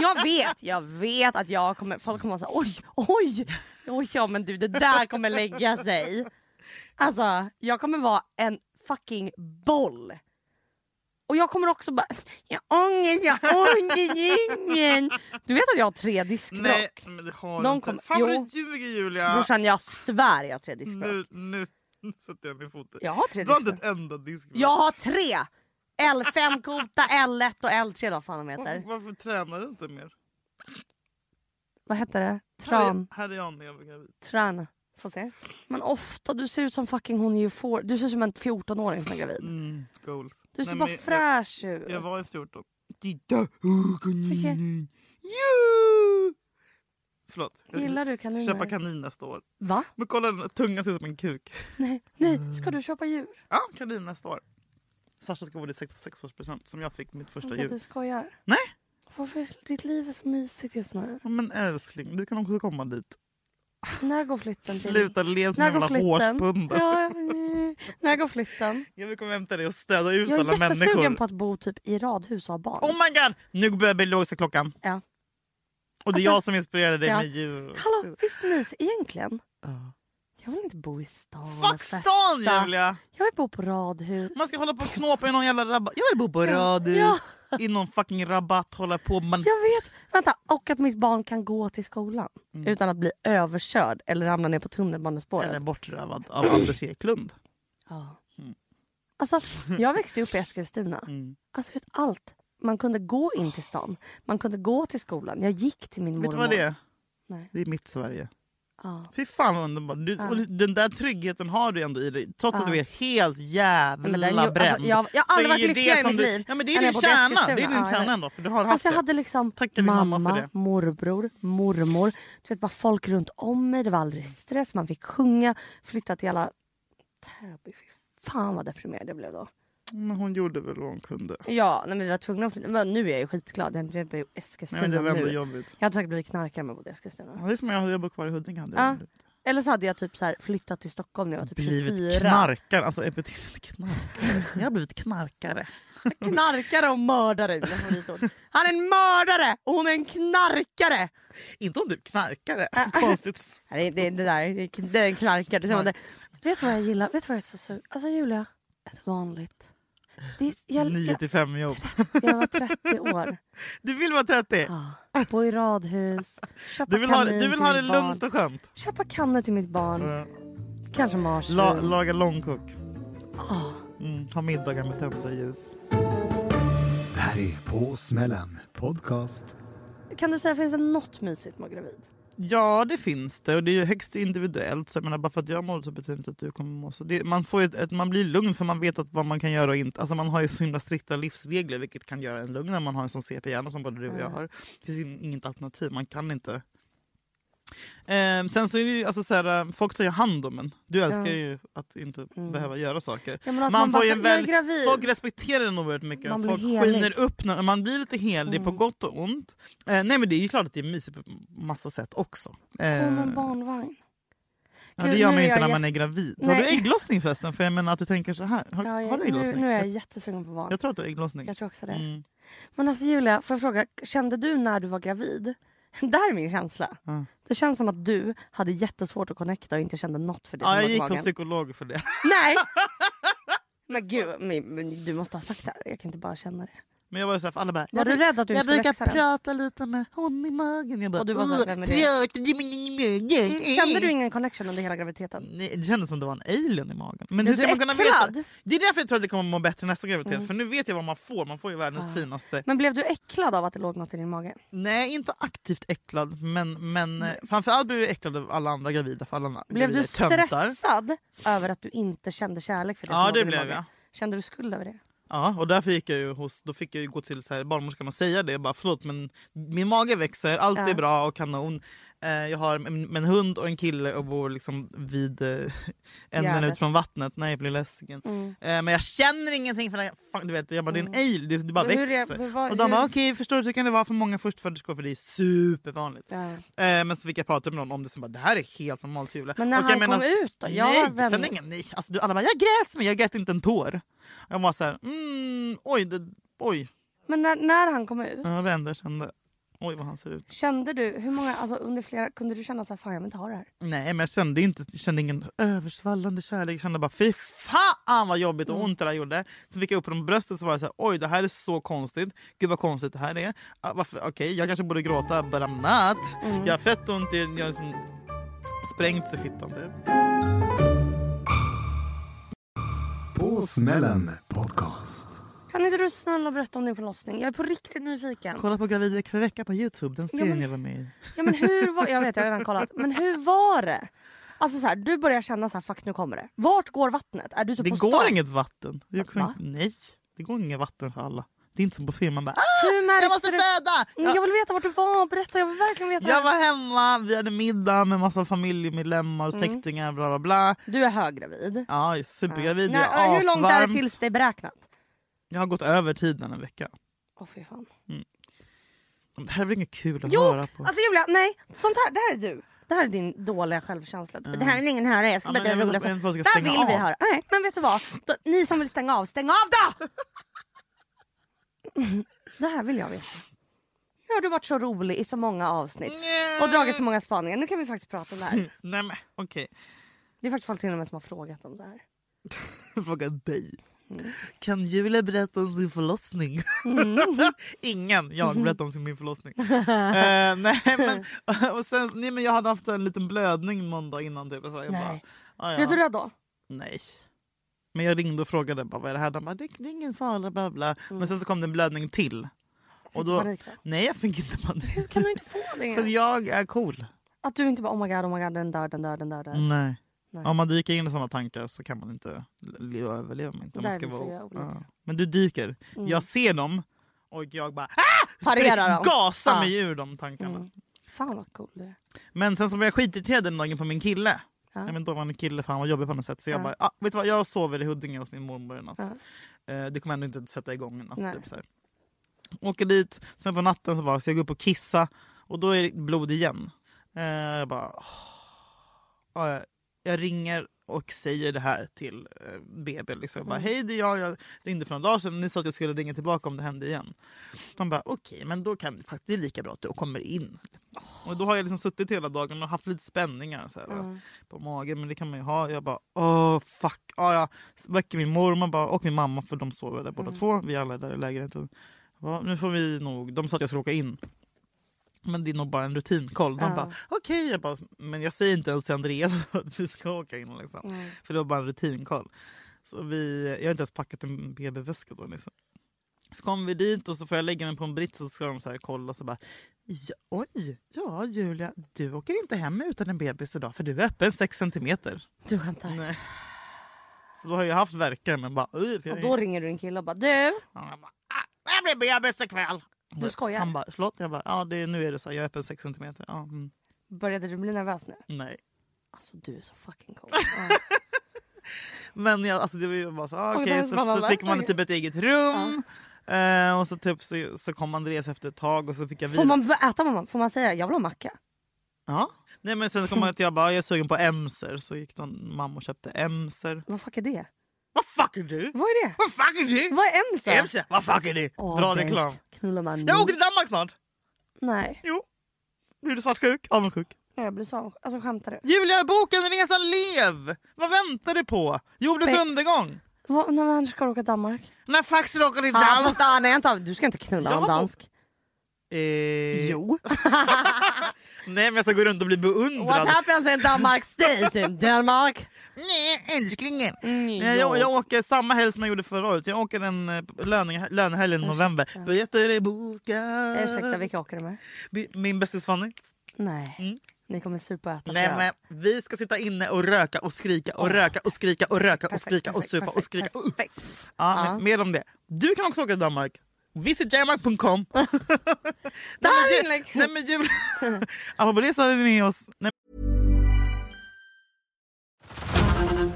[SPEAKER 3] Jag vet, jag vet att jag kommer, folk kommer säga oj, oj, oj, ja men du det där kommer lägga sig. Alltså jag kommer vara en fucking boll. Och jag kommer också bara, jag har ångest, jag har ångest i ungen. Du vet att jag har tre
[SPEAKER 2] Nej
[SPEAKER 3] diskbråck?
[SPEAKER 2] men det har
[SPEAKER 3] Någon
[SPEAKER 2] du inte.
[SPEAKER 3] kom-
[SPEAKER 2] Fan vad
[SPEAKER 3] Jo.
[SPEAKER 2] du ljuger Julia!
[SPEAKER 3] Brorsan jag svär jag har tre diskbråck.
[SPEAKER 2] nu, nu, nu sätter jag ner foten.
[SPEAKER 3] Jag har tre
[SPEAKER 2] Du har inte
[SPEAKER 3] diskbråck.
[SPEAKER 2] ett enda diskbråck.
[SPEAKER 3] Jag har tre! L5-kota, L1 och L3 vad fan de
[SPEAKER 2] varför,
[SPEAKER 3] heter.
[SPEAKER 2] varför tränar du inte mer?
[SPEAKER 3] Vad heter det?
[SPEAKER 2] Här är-
[SPEAKER 3] Tran.
[SPEAKER 2] Här är jag när jag var gravid.
[SPEAKER 3] Tran. Får se. Men ofta, du ser ut som fucking hon i Eufor- Du ser ut som en 14-åring som är gravid.
[SPEAKER 2] Mm, goals.
[SPEAKER 3] Du ser
[SPEAKER 2] Nej,
[SPEAKER 3] bara
[SPEAKER 2] men jag-
[SPEAKER 3] fräsch
[SPEAKER 2] Jag,
[SPEAKER 3] ut.
[SPEAKER 2] jag var ju 14. Titta! Oh, kaninen! Jo! Förlåt. Jag
[SPEAKER 3] Gillar du
[SPEAKER 2] ska
[SPEAKER 3] kaniner?
[SPEAKER 2] köpa kanin nästa år.
[SPEAKER 3] Va?
[SPEAKER 2] Men kolla den, tungan ser ut som en kuk.
[SPEAKER 3] Nej, nej, ska du köpa djur?
[SPEAKER 2] Ja, kanin nästa år. Sasha ska få det 66-årspresent som jag fick mitt första
[SPEAKER 3] Vänta,
[SPEAKER 2] djur.
[SPEAKER 3] du skojar.
[SPEAKER 2] Nej!
[SPEAKER 3] Varför? Ditt liv är så mysigt just nu.
[SPEAKER 2] Ja, Men älskling, du kan också komma dit.
[SPEAKER 3] När går flytten till?
[SPEAKER 2] Sluta lev som
[SPEAKER 3] När
[SPEAKER 2] en
[SPEAKER 3] går
[SPEAKER 2] jävla
[SPEAKER 3] flytten?
[SPEAKER 2] hårspundel.
[SPEAKER 3] Ja, eh, när går flytten?
[SPEAKER 2] Jag vill komma hem till dig och städa ut
[SPEAKER 3] Jag
[SPEAKER 2] alla
[SPEAKER 3] är jättesugen
[SPEAKER 2] människor.
[SPEAKER 3] på att bo typ i radhus och ha barn.
[SPEAKER 2] Oh my god! Nu börjar biologiska klockan.
[SPEAKER 3] Ja.
[SPEAKER 2] Och det är
[SPEAKER 3] Alltså,
[SPEAKER 2] jag som inspirerade dig
[SPEAKER 3] ja.
[SPEAKER 2] med djur.
[SPEAKER 3] Hallå, visst mys egentligen? Jag vill inte bo i stan och
[SPEAKER 2] Fuck
[SPEAKER 3] festa.
[SPEAKER 2] stan Julia!
[SPEAKER 3] Jag vill bo på radhus.
[SPEAKER 2] Man ska hålla på och knåpa i någon jävla rabatt. Jag vill bo på radhus.
[SPEAKER 3] Ja.
[SPEAKER 2] I någon fucking rabatt, hålla på. Man...
[SPEAKER 3] Jag vet! Vänta, och att mitt barn kan gå till skolan utan att bli överkörd eller ramla ner på tunnelbanespåret.
[SPEAKER 2] Eller bortrövad av Anders Eklund.
[SPEAKER 3] Ja. Alltså, jag växte upp i Eskilstuna. Alltså, vet allt. Man kunde gå in till stan, man kunde gå till skolan. Jag gick till min
[SPEAKER 2] Vet du
[SPEAKER 3] mormor.
[SPEAKER 2] vad det är?
[SPEAKER 3] Nej.
[SPEAKER 2] Det är mitt Sverige.
[SPEAKER 3] Ja.
[SPEAKER 2] Fy fan vad underbart. Du, och Den där tryggheten har du ändå i dig. Trots att du är helt jävla
[SPEAKER 3] Men den- alltså,
[SPEAKER 2] bränd.
[SPEAKER 3] jag- jag har aldrig
[SPEAKER 2] så
[SPEAKER 3] varit
[SPEAKER 2] är det
[SPEAKER 3] lyckligare i
[SPEAKER 2] som
[SPEAKER 3] mitt
[SPEAKER 2] du-
[SPEAKER 3] liv
[SPEAKER 2] Ja, men det är
[SPEAKER 3] än jag
[SPEAKER 2] din
[SPEAKER 3] bodde i
[SPEAKER 2] kärna.
[SPEAKER 3] Eskilstuna.
[SPEAKER 2] Det är din
[SPEAKER 3] Ja, jag
[SPEAKER 2] kärna
[SPEAKER 3] vet.
[SPEAKER 2] ändå. För du har haft
[SPEAKER 3] Alltså jag
[SPEAKER 2] det.
[SPEAKER 3] hade liksom
[SPEAKER 2] Tackar din
[SPEAKER 3] mamma,
[SPEAKER 2] mamma för det.
[SPEAKER 3] morbror, mormor. Du vet bara folk runt om mig. Det var aldrig stress. Man fick sjunga, flytta till alla... Täby. Fy fan vad deprimerad jag blev då.
[SPEAKER 2] Men hon gjorde väl vad hon kunde.
[SPEAKER 3] Ja, nej, men vi var tvungna att flytta. Men nu är jag ju skitglad. Jag blev i
[SPEAKER 2] Nej,
[SPEAKER 3] Eskilstuna
[SPEAKER 2] men det var ändå
[SPEAKER 3] nu.
[SPEAKER 2] jobbigt.
[SPEAKER 3] Jag hade säkert blivit knarkare om jag bodde i Eskilstuna.
[SPEAKER 2] Ja, det är som om jag hade jobbat kvar i Huddinge. Hade
[SPEAKER 3] Ja.
[SPEAKER 2] jag blivit-
[SPEAKER 3] Eller så hade jag typ så här flyttat till Stockholm när jag var typ
[SPEAKER 2] blivit
[SPEAKER 3] 24.
[SPEAKER 2] knarkare. Alltså epitetet knarkare. Jag har blivit knarkare.
[SPEAKER 3] Knarkare och mördare. är mina favoritord. Han är en mördare och hon är en knarkare.
[SPEAKER 2] Inte om du är knarkare. Konstigt.
[SPEAKER 3] Nej, det, det, det där det är kn- det är en knarkare. Det är samma där. Vet du vad jag gillar? Vet du vad jag är så sur? Alltså Julia, ett vanligt. Det är, jag,
[SPEAKER 2] Nio typ.
[SPEAKER 3] jag,
[SPEAKER 2] till fem jobb.
[SPEAKER 3] jag var 30 år.
[SPEAKER 2] Du vill vara 30.
[SPEAKER 3] Ah, bo i radhus. Köpa
[SPEAKER 2] Du vill ha,
[SPEAKER 3] kanin
[SPEAKER 2] du vill
[SPEAKER 3] till
[SPEAKER 2] ha det
[SPEAKER 3] mitt
[SPEAKER 2] lugnt
[SPEAKER 3] barn.
[SPEAKER 2] och skönt.
[SPEAKER 3] Köpa kanne till mitt barn.
[SPEAKER 2] Eh,
[SPEAKER 3] Kanske marsvin.
[SPEAKER 2] La, laga långkok. Mm, ha middagar med tända ljus.
[SPEAKER 6] Det här är På smällen podcast.
[SPEAKER 3] Kan du säga, finns det något mysigt med att vara gravid?
[SPEAKER 2] Ja, det finns det. Och det är ju högst individuellt. Så jag menar, bara för att jag mår så betyder det inte att du kommer må så. Det, man, får ju ett, ett, man blir lugn för man vet att vad man kan göra och inte. Alltså man har ju så himla strikta livsregler vilket kan göra en lugn när man har en sån CP-hjärna som både du och jag har. Det finns in- inget alternativ. Man kan inte. Ehm, sen så är det ju alltså så här, eh, folk tar ju hand om en. Du älskar ju att inte behöva göra saker.
[SPEAKER 3] Ja, men att
[SPEAKER 2] man
[SPEAKER 3] man
[SPEAKER 2] får
[SPEAKER 3] bara,
[SPEAKER 2] ju
[SPEAKER 3] "Jag
[SPEAKER 2] en
[SPEAKER 3] är
[SPEAKER 2] väl,
[SPEAKER 3] gravid."
[SPEAKER 2] folk respekterar en oerhört mycket.
[SPEAKER 3] Typ. Man blir
[SPEAKER 2] folk
[SPEAKER 3] helig. Mm.
[SPEAKER 2] skiner upp när man blir lite helig på gott och ont. Eh, nej men det är ju klart att det är mysigt på massa sätt också. Eh,
[SPEAKER 3] Hon en barnvagn.
[SPEAKER 2] ja,
[SPEAKER 3] Gud,
[SPEAKER 2] det gör
[SPEAKER 3] nu
[SPEAKER 2] man
[SPEAKER 3] är
[SPEAKER 2] ju inte
[SPEAKER 3] jag
[SPEAKER 2] när man är gravid. Har
[SPEAKER 3] Nej.
[SPEAKER 2] du ägglossning förresten? För jag menar att du tänker så här. Har,
[SPEAKER 3] Ja,
[SPEAKER 2] har
[SPEAKER 3] jag,
[SPEAKER 2] du
[SPEAKER 3] nu,
[SPEAKER 2] ägglossning?
[SPEAKER 3] nu är jag jättesugen på barn.
[SPEAKER 2] Jag tror att du har ägglossning.
[SPEAKER 3] Jag tror också det.
[SPEAKER 2] Mm.
[SPEAKER 3] Men alltså Julia, får jag fråga, kände du när du var gravid? Det här är min känsla.
[SPEAKER 2] Ja.
[SPEAKER 3] Det känns som att du hade jättesvårt att connecta och inte kände något för det som
[SPEAKER 2] Ja, jag
[SPEAKER 3] var i
[SPEAKER 2] gick hos
[SPEAKER 3] magen.
[SPEAKER 2] psykolog för det.
[SPEAKER 3] Nej! Men gud, men, men du måste ha sagt det här. Jag kan inte bara känna det.
[SPEAKER 2] Men jag var ju så här, för alla bara,
[SPEAKER 3] Var
[SPEAKER 2] jag,
[SPEAKER 3] du
[SPEAKER 2] bru-
[SPEAKER 3] rädd att du
[SPEAKER 2] jag
[SPEAKER 3] skulle
[SPEAKER 2] brukar
[SPEAKER 3] växa den?
[SPEAKER 2] prata lite med hon i magen. Jag bara,
[SPEAKER 3] Och du var så här,
[SPEAKER 2] "Åh,
[SPEAKER 3] vem är det?"
[SPEAKER 2] prata till min magen.
[SPEAKER 3] Mm, Kände du ingen connection under hela graviditeten?
[SPEAKER 2] Nej, Det kändes som det var en alien i magen. Men
[SPEAKER 3] Blev
[SPEAKER 2] hur ska
[SPEAKER 3] du
[SPEAKER 2] man kunna
[SPEAKER 3] äcklad?
[SPEAKER 2] veta? Det är därför jag tror att det kommer må bättre nästa graviditet.
[SPEAKER 3] Mm.
[SPEAKER 2] För nu vet jag vad man får. Man får ju världens finaste.
[SPEAKER 3] Men blev du äcklad av att det låg något i din mage?
[SPEAKER 2] Nej, inte aktivt äcklad. Men, men eh, framförallt blev jag äcklad av alla andra gravida. För alla andra
[SPEAKER 3] Blev du
[SPEAKER 2] gravida är töntar.
[SPEAKER 3] stressad över att du inte kände kärlek för det
[SPEAKER 2] Ja,
[SPEAKER 3] som låg i
[SPEAKER 2] det
[SPEAKER 3] din
[SPEAKER 2] blev
[SPEAKER 3] mage?
[SPEAKER 2] jag.
[SPEAKER 3] Kände du skuld över det?
[SPEAKER 2] Ja, och därför gick jag ju hos, då fick jag ju gå till så här, barnmorskan och säga det. Jag bara, förlåt men min mage växer, allt
[SPEAKER 3] Ja.
[SPEAKER 2] är bra och kanon. Eh, jag har en, en hund och en kille och bor liksom vid eh, en
[SPEAKER 3] Gärdet.
[SPEAKER 2] minut från vattnet. Nej, jag blir ledsen.
[SPEAKER 3] Mm.
[SPEAKER 2] Eh, men jag känner ingenting för det här. Fan, du vet, jag bara, det är en alien, det, det bara
[SPEAKER 3] Men hur är-
[SPEAKER 2] växer.
[SPEAKER 3] hur var-
[SPEAKER 2] och de
[SPEAKER 3] hur-
[SPEAKER 2] bara, okej förstår du, så kan det vara för många förstföderskor för det är supervanligt.
[SPEAKER 3] Ja.
[SPEAKER 2] Eh, men så fick jag prata med någon om det som bara, det här är helt normalt Julia.
[SPEAKER 3] Men när
[SPEAKER 2] Och jag
[SPEAKER 3] han
[SPEAKER 2] menar-
[SPEAKER 3] kom ut då? Jag
[SPEAKER 2] alltså- nej,
[SPEAKER 3] var
[SPEAKER 2] jag
[SPEAKER 3] vän-
[SPEAKER 2] kände ingen, nej. Alltså, du, alla bara, jag grät men jag grät inte en tår. Jag var så här, mm, oj, det, oj,
[SPEAKER 3] Men när, när han kom ut,
[SPEAKER 2] jag vände och kände, oj vad han ser ut.
[SPEAKER 3] kände du, hur många, alltså under flera, kunde du känna så här, fan jag vill inte ha det här?
[SPEAKER 2] Nej men jag kände, inte, jag kände ingen översvallande kärlek. Jag kände bara, fy fan vad jobbigt och ont det där gjorde. Så fick jag upp på de brösten så var det så här, oj det här är så konstigt. Gud vad konstigt det här är. Ah, varför- Okej, jag kanske borde gråta, but I'm not. Jag har fett ont, i- jag har liksom sprängt i fittan typ.
[SPEAKER 6] På smällen podcast.
[SPEAKER 3] Kan inte du snälla berätta om din förlossning? Jag är på riktigt nyfiken.
[SPEAKER 2] Kolla på Gravid vecka för vecka på Youtube, den serien
[SPEAKER 3] men-
[SPEAKER 2] jag var med i.
[SPEAKER 3] Ja, men hur var, jag vet, jag har redan kollat. Men hur var det? Alltså så här, du börjar känna så här, fuck nu kommer det. Vart går vattnet? Är du typ
[SPEAKER 2] Det
[SPEAKER 3] på
[SPEAKER 2] går
[SPEAKER 3] stan?
[SPEAKER 2] inget vatten. Det är också
[SPEAKER 3] Va?
[SPEAKER 2] inte, nej, det går inget vatten för alla. Det är inte som på film, man bara
[SPEAKER 3] Hur
[SPEAKER 2] ah,
[SPEAKER 3] märkte
[SPEAKER 2] “jag måste
[SPEAKER 3] du-
[SPEAKER 2] föda!”
[SPEAKER 3] Mm, Jag
[SPEAKER 2] jag,
[SPEAKER 3] vill veta vart du var, berätta. Jag vill verkligen veta.
[SPEAKER 2] jag var hemma, vi hade middag med massa familjemedlemmar och
[SPEAKER 3] Mm.
[SPEAKER 2] släktingar. Bla, bla, bla.
[SPEAKER 3] Du är höggravid.
[SPEAKER 2] Ja, jag är supergravid,
[SPEAKER 3] Nej,
[SPEAKER 2] jag är
[SPEAKER 3] hur långt är det
[SPEAKER 2] asvarm.
[SPEAKER 3] tills det är beräknat?
[SPEAKER 2] Jag har gått över tiden en vecka.
[SPEAKER 3] Åh fy fan.
[SPEAKER 2] Det här är väl inget kul att
[SPEAKER 3] Jo!
[SPEAKER 2] höra på?
[SPEAKER 3] Alltså Julia, nej. Sånt här, det här är du. Det här är din dåliga självkänsla. Det här vill ingen höra. Jag ska
[SPEAKER 2] Mm. Ja,
[SPEAKER 3] bara
[SPEAKER 2] men
[SPEAKER 3] dra
[SPEAKER 2] jag
[SPEAKER 3] det
[SPEAKER 2] vet
[SPEAKER 3] roligaste.
[SPEAKER 2] inte vad jag
[SPEAKER 3] Det
[SPEAKER 2] ska
[SPEAKER 3] här
[SPEAKER 2] stänga
[SPEAKER 3] vill vi
[SPEAKER 2] av.
[SPEAKER 3] höra. Nej, men vet du vad? Då, ni som vill stänga av, stäng av då! det här vill jag veta. Nu har du varit så rolig i så många avsnitt och dragit så många spaningar. Nu kan vi faktiskt prata om det här.
[SPEAKER 2] Nej men okej,
[SPEAKER 3] Det är faktiskt folk till och med som har frågat om det här.
[SPEAKER 2] fråga dig.
[SPEAKER 3] Mm.
[SPEAKER 2] Kan Julia berätta om sin förlossning?
[SPEAKER 3] Mm.
[SPEAKER 2] Ingen. Jag berättar om sin- min förlossning. Eh, nej, men, och sen, nej, men jag hade haft en liten blödning någon dag innan. Typ, och så jag
[SPEAKER 3] Nej.
[SPEAKER 2] Bara, "Ah,
[SPEAKER 3] Blev du
[SPEAKER 2] ja.
[SPEAKER 3] rädd då?
[SPEAKER 2] Nej. Men jag ringde och frågade bara, vad är det här? De bara, det, det är ingen fara. Bla, bla. Men sen så kom det en blödning till. Och
[SPEAKER 3] Mm. Fick du
[SPEAKER 2] då,
[SPEAKER 3] panik då?
[SPEAKER 2] nej, jag fick inte panik.
[SPEAKER 3] Kan du inte få det?
[SPEAKER 2] För jag är cool.
[SPEAKER 3] Att du inte bara oh my god, oh my god, den dör, den dör, den dör. Den. dör.
[SPEAKER 2] Nej.
[SPEAKER 3] Nej.
[SPEAKER 2] Om man dyker in i sådana tankar så kan man inte leva och överleva. Man inte. Man
[SPEAKER 3] Där
[SPEAKER 2] ska
[SPEAKER 3] är vi så
[SPEAKER 2] vara,
[SPEAKER 3] olika.
[SPEAKER 2] ja. Men du dyker.
[SPEAKER 3] Mm.
[SPEAKER 2] Jag ser dem och jag bara ah!
[SPEAKER 3] Parerar
[SPEAKER 2] Sprick-
[SPEAKER 3] dem.
[SPEAKER 2] gasar
[SPEAKER 3] Ja.
[SPEAKER 2] mig ur de tankarna.
[SPEAKER 3] Mm. Fan vad cool du är.
[SPEAKER 2] Men sen så blev jag skitirriterad den dagen på min kille.
[SPEAKER 3] Ja.
[SPEAKER 2] Jag vet inte om han är kille för han var jobbig på något sätt. Så jag
[SPEAKER 3] Ja.
[SPEAKER 2] bara, ah, vet du vad, jag sover i Huddinge hos min mormor i natt.
[SPEAKER 3] Ja.
[SPEAKER 2] Eh, det kommer ändå inte att sätta igång en natt.
[SPEAKER 3] Nej.
[SPEAKER 2] Typ, så här. Åker dit, sen på natten så, bara, så jag går upp och kissa och då är det blod igen. Eh, jag bara... åh. Ja, jag- jag ringer och säger det här till eh, BB. Liksom. Jag bara,
[SPEAKER 3] Mm.
[SPEAKER 2] Hej, det är jag. Jag ringde för några dagar sedan och ni sa att jag skulle ringa tillbaka om det hände igen. De bara, okej, men då kan det faktiskt det är lika bra att du kommer in. Och då har jag liksom suttit hela dagen och haft lite spänningar så här,
[SPEAKER 3] Mm.
[SPEAKER 2] på magen, men det kan man ju ha. Jag bara, åh fuck. Ja, jag väcker min mormor bara, och min mamma för de sover där båda
[SPEAKER 3] Mm.
[SPEAKER 2] två. Vi alla är där i lägenheten. Ja, nu får vi nog, de sa att jag skulle åka in. Men det är nog bara en rutinkoll. De
[SPEAKER 3] Ja.
[SPEAKER 2] bara, okej. Jag bara, men jag säger inte ens till Andreas att vi ska åka in. Liksom.
[SPEAKER 3] Mm.
[SPEAKER 2] För det var bara en rutinkoll. Så vi, jag har inte ens packat en BB-väska då. Liksom. Så kom vi dit och så får jag lägga mig på en brits och så ska de så här kolla och så bara ja, Oj, ja Julia, du åker inte hem utan en bebis idag för du är öppen 6 centimeter.
[SPEAKER 3] Du skämtar.
[SPEAKER 2] Nej. Så då har jag haft värkar men bara... "Oj, för jag
[SPEAKER 3] Och
[SPEAKER 2] är-"
[SPEAKER 3] då ringer du din kille och bara du,
[SPEAKER 2] Han bara ah, jag blir bebis ikväll.
[SPEAKER 3] Du skojar?
[SPEAKER 2] Han bara förlåt? Jag bara ja det, är- nu är det så, jag är öppen 6 centimeter. Ja, mm,
[SPEAKER 3] började du bli nervös nu?
[SPEAKER 2] nej.
[SPEAKER 3] Alltså du är så fucking cool. Ja.
[SPEAKER 2] Men jag, alltså det var ju bara så, ah,
[SPEAKER 3] Oj,
[SPEAKER 2] okej,
[SPEAKER 3] det är
[SPEAKER 2] så, så
[SPEAKER 3] spännande.
[SPEAKER 2] fick man
[SPEAKER 3] Oj.
[SPEAKER 2] typ ett eget rum. Eh, och så, typ, så, så kom Andreas efter ett tag och så fick jag vila.
[SPEAKER 3] Får man börja äta mamma? Får man säga jag vill ha macka?
[SPEAKER 2] Ja. Nej, men sen kom man att jag bara, jag är sugen på emser. Så gick någon mamma och köpte emser.
[SPEAKER 3] Vad fuck är det?
[SPEAKER 2] Vad fuck är du?
[SPEAKER 3] Vad är det?
[SPEAKER 2] Vad fuck är du?
[SPEAKER 3] Vad är Emsa?
[SPEAKER 2] Emser? Vad fuck är du?
[SPEAKER 3] Åh,
[SPEAKER 2] Bra
[SPEAKER 3] Bengt,
[SPEAKER 2] reklam.
[SPEAKER 3] Knullar man
[SPEAKER 2] Jag
[SPEAKER 3] nu?
[SPEAKER 2] åker till Danmark snart.
[SPEAKER 3] Nej,
[SPEAKER 2] Jo. Blir du svartsjuk? Avundsjuk.
[SPEAKER 3] jag blir så avundsjuk. Alltså skämtar du?
[SPEAKER 2] Julia, boken Resa lev! Vad väntar du på? Jordens
[SPEAKER 3] Be-
[SPEAKER 2] undergång.
[SPEAKER 3] Vad, när man ska åka till Danmark?
[SPEAKER 2] När faxen åker till
[SPEAKER 3] Ja,
[SPEAKER 2] Danmark.
[SPEAKER 3] fast, ah, nej, vänta, du ska inte knulla
[SPEAKER 2] Jag
[SPEAKER 3] någon
[SPEAKER 2] har-
[SPEAKER 3] dansk.
[SPEAKER 2] Eh,
[SPEAKER 3] Jo.
[SPEAKER 2] Nej, men jag ska gå runt och bli beundrad.
[SPEAKER 3] What happens in Denmark stays in Denmark.
[SPEAKER 2] Nej, älsklingen.
[SPEAKER 3] Mm,
[SPEAKER 2] Nej,
[SPEAKER 3] jo.
[SPEAKER 2] jag, jag Eh, åker samma helg som jag gjorde förra året. Jag åker en eh, löning- lönehelg i november. Biljetter är bokade.
[SPEAKER 3] Ursäkta, vilka åker du med?
[SPEAKER 2] Bi- Min bästis Fanny.
[SPEAKER 3] Nej,
[SPEAKER 2] Mm.
[SPEAKER 3] ni kommer supa och äta
[SPEAKER 2] Nej,
[SPEAKER 3] bröd.
[SPEAKER 2] men vi ska sitta inne och röka och skrika och röka och skrika och röka och
[SPEAKER 3] Perfekt,
[SPEAKER 2] skrika och
[SPEAKER 3] perfekt,
[SPEAKER 2] supa och
[SPEAKER 3] perfekt,
[SPEAKER 2] skrika. Uh.
[SPEAKER 3] perfekt.
[SPEAKER 2] Ja,
[SPEAKER 3] Ja.
[SPEAKER 2] men Mer om det. Du kan också åka till Danmark. Visitdenmark.com. Nej, men
[SPEAKER 3] Där
[SPEAKER 2] Ju-
[SPEAKER 3] inlägg.
[SPEAKER 2] Nej men jul... Apropå det så har vi med oss... Nej,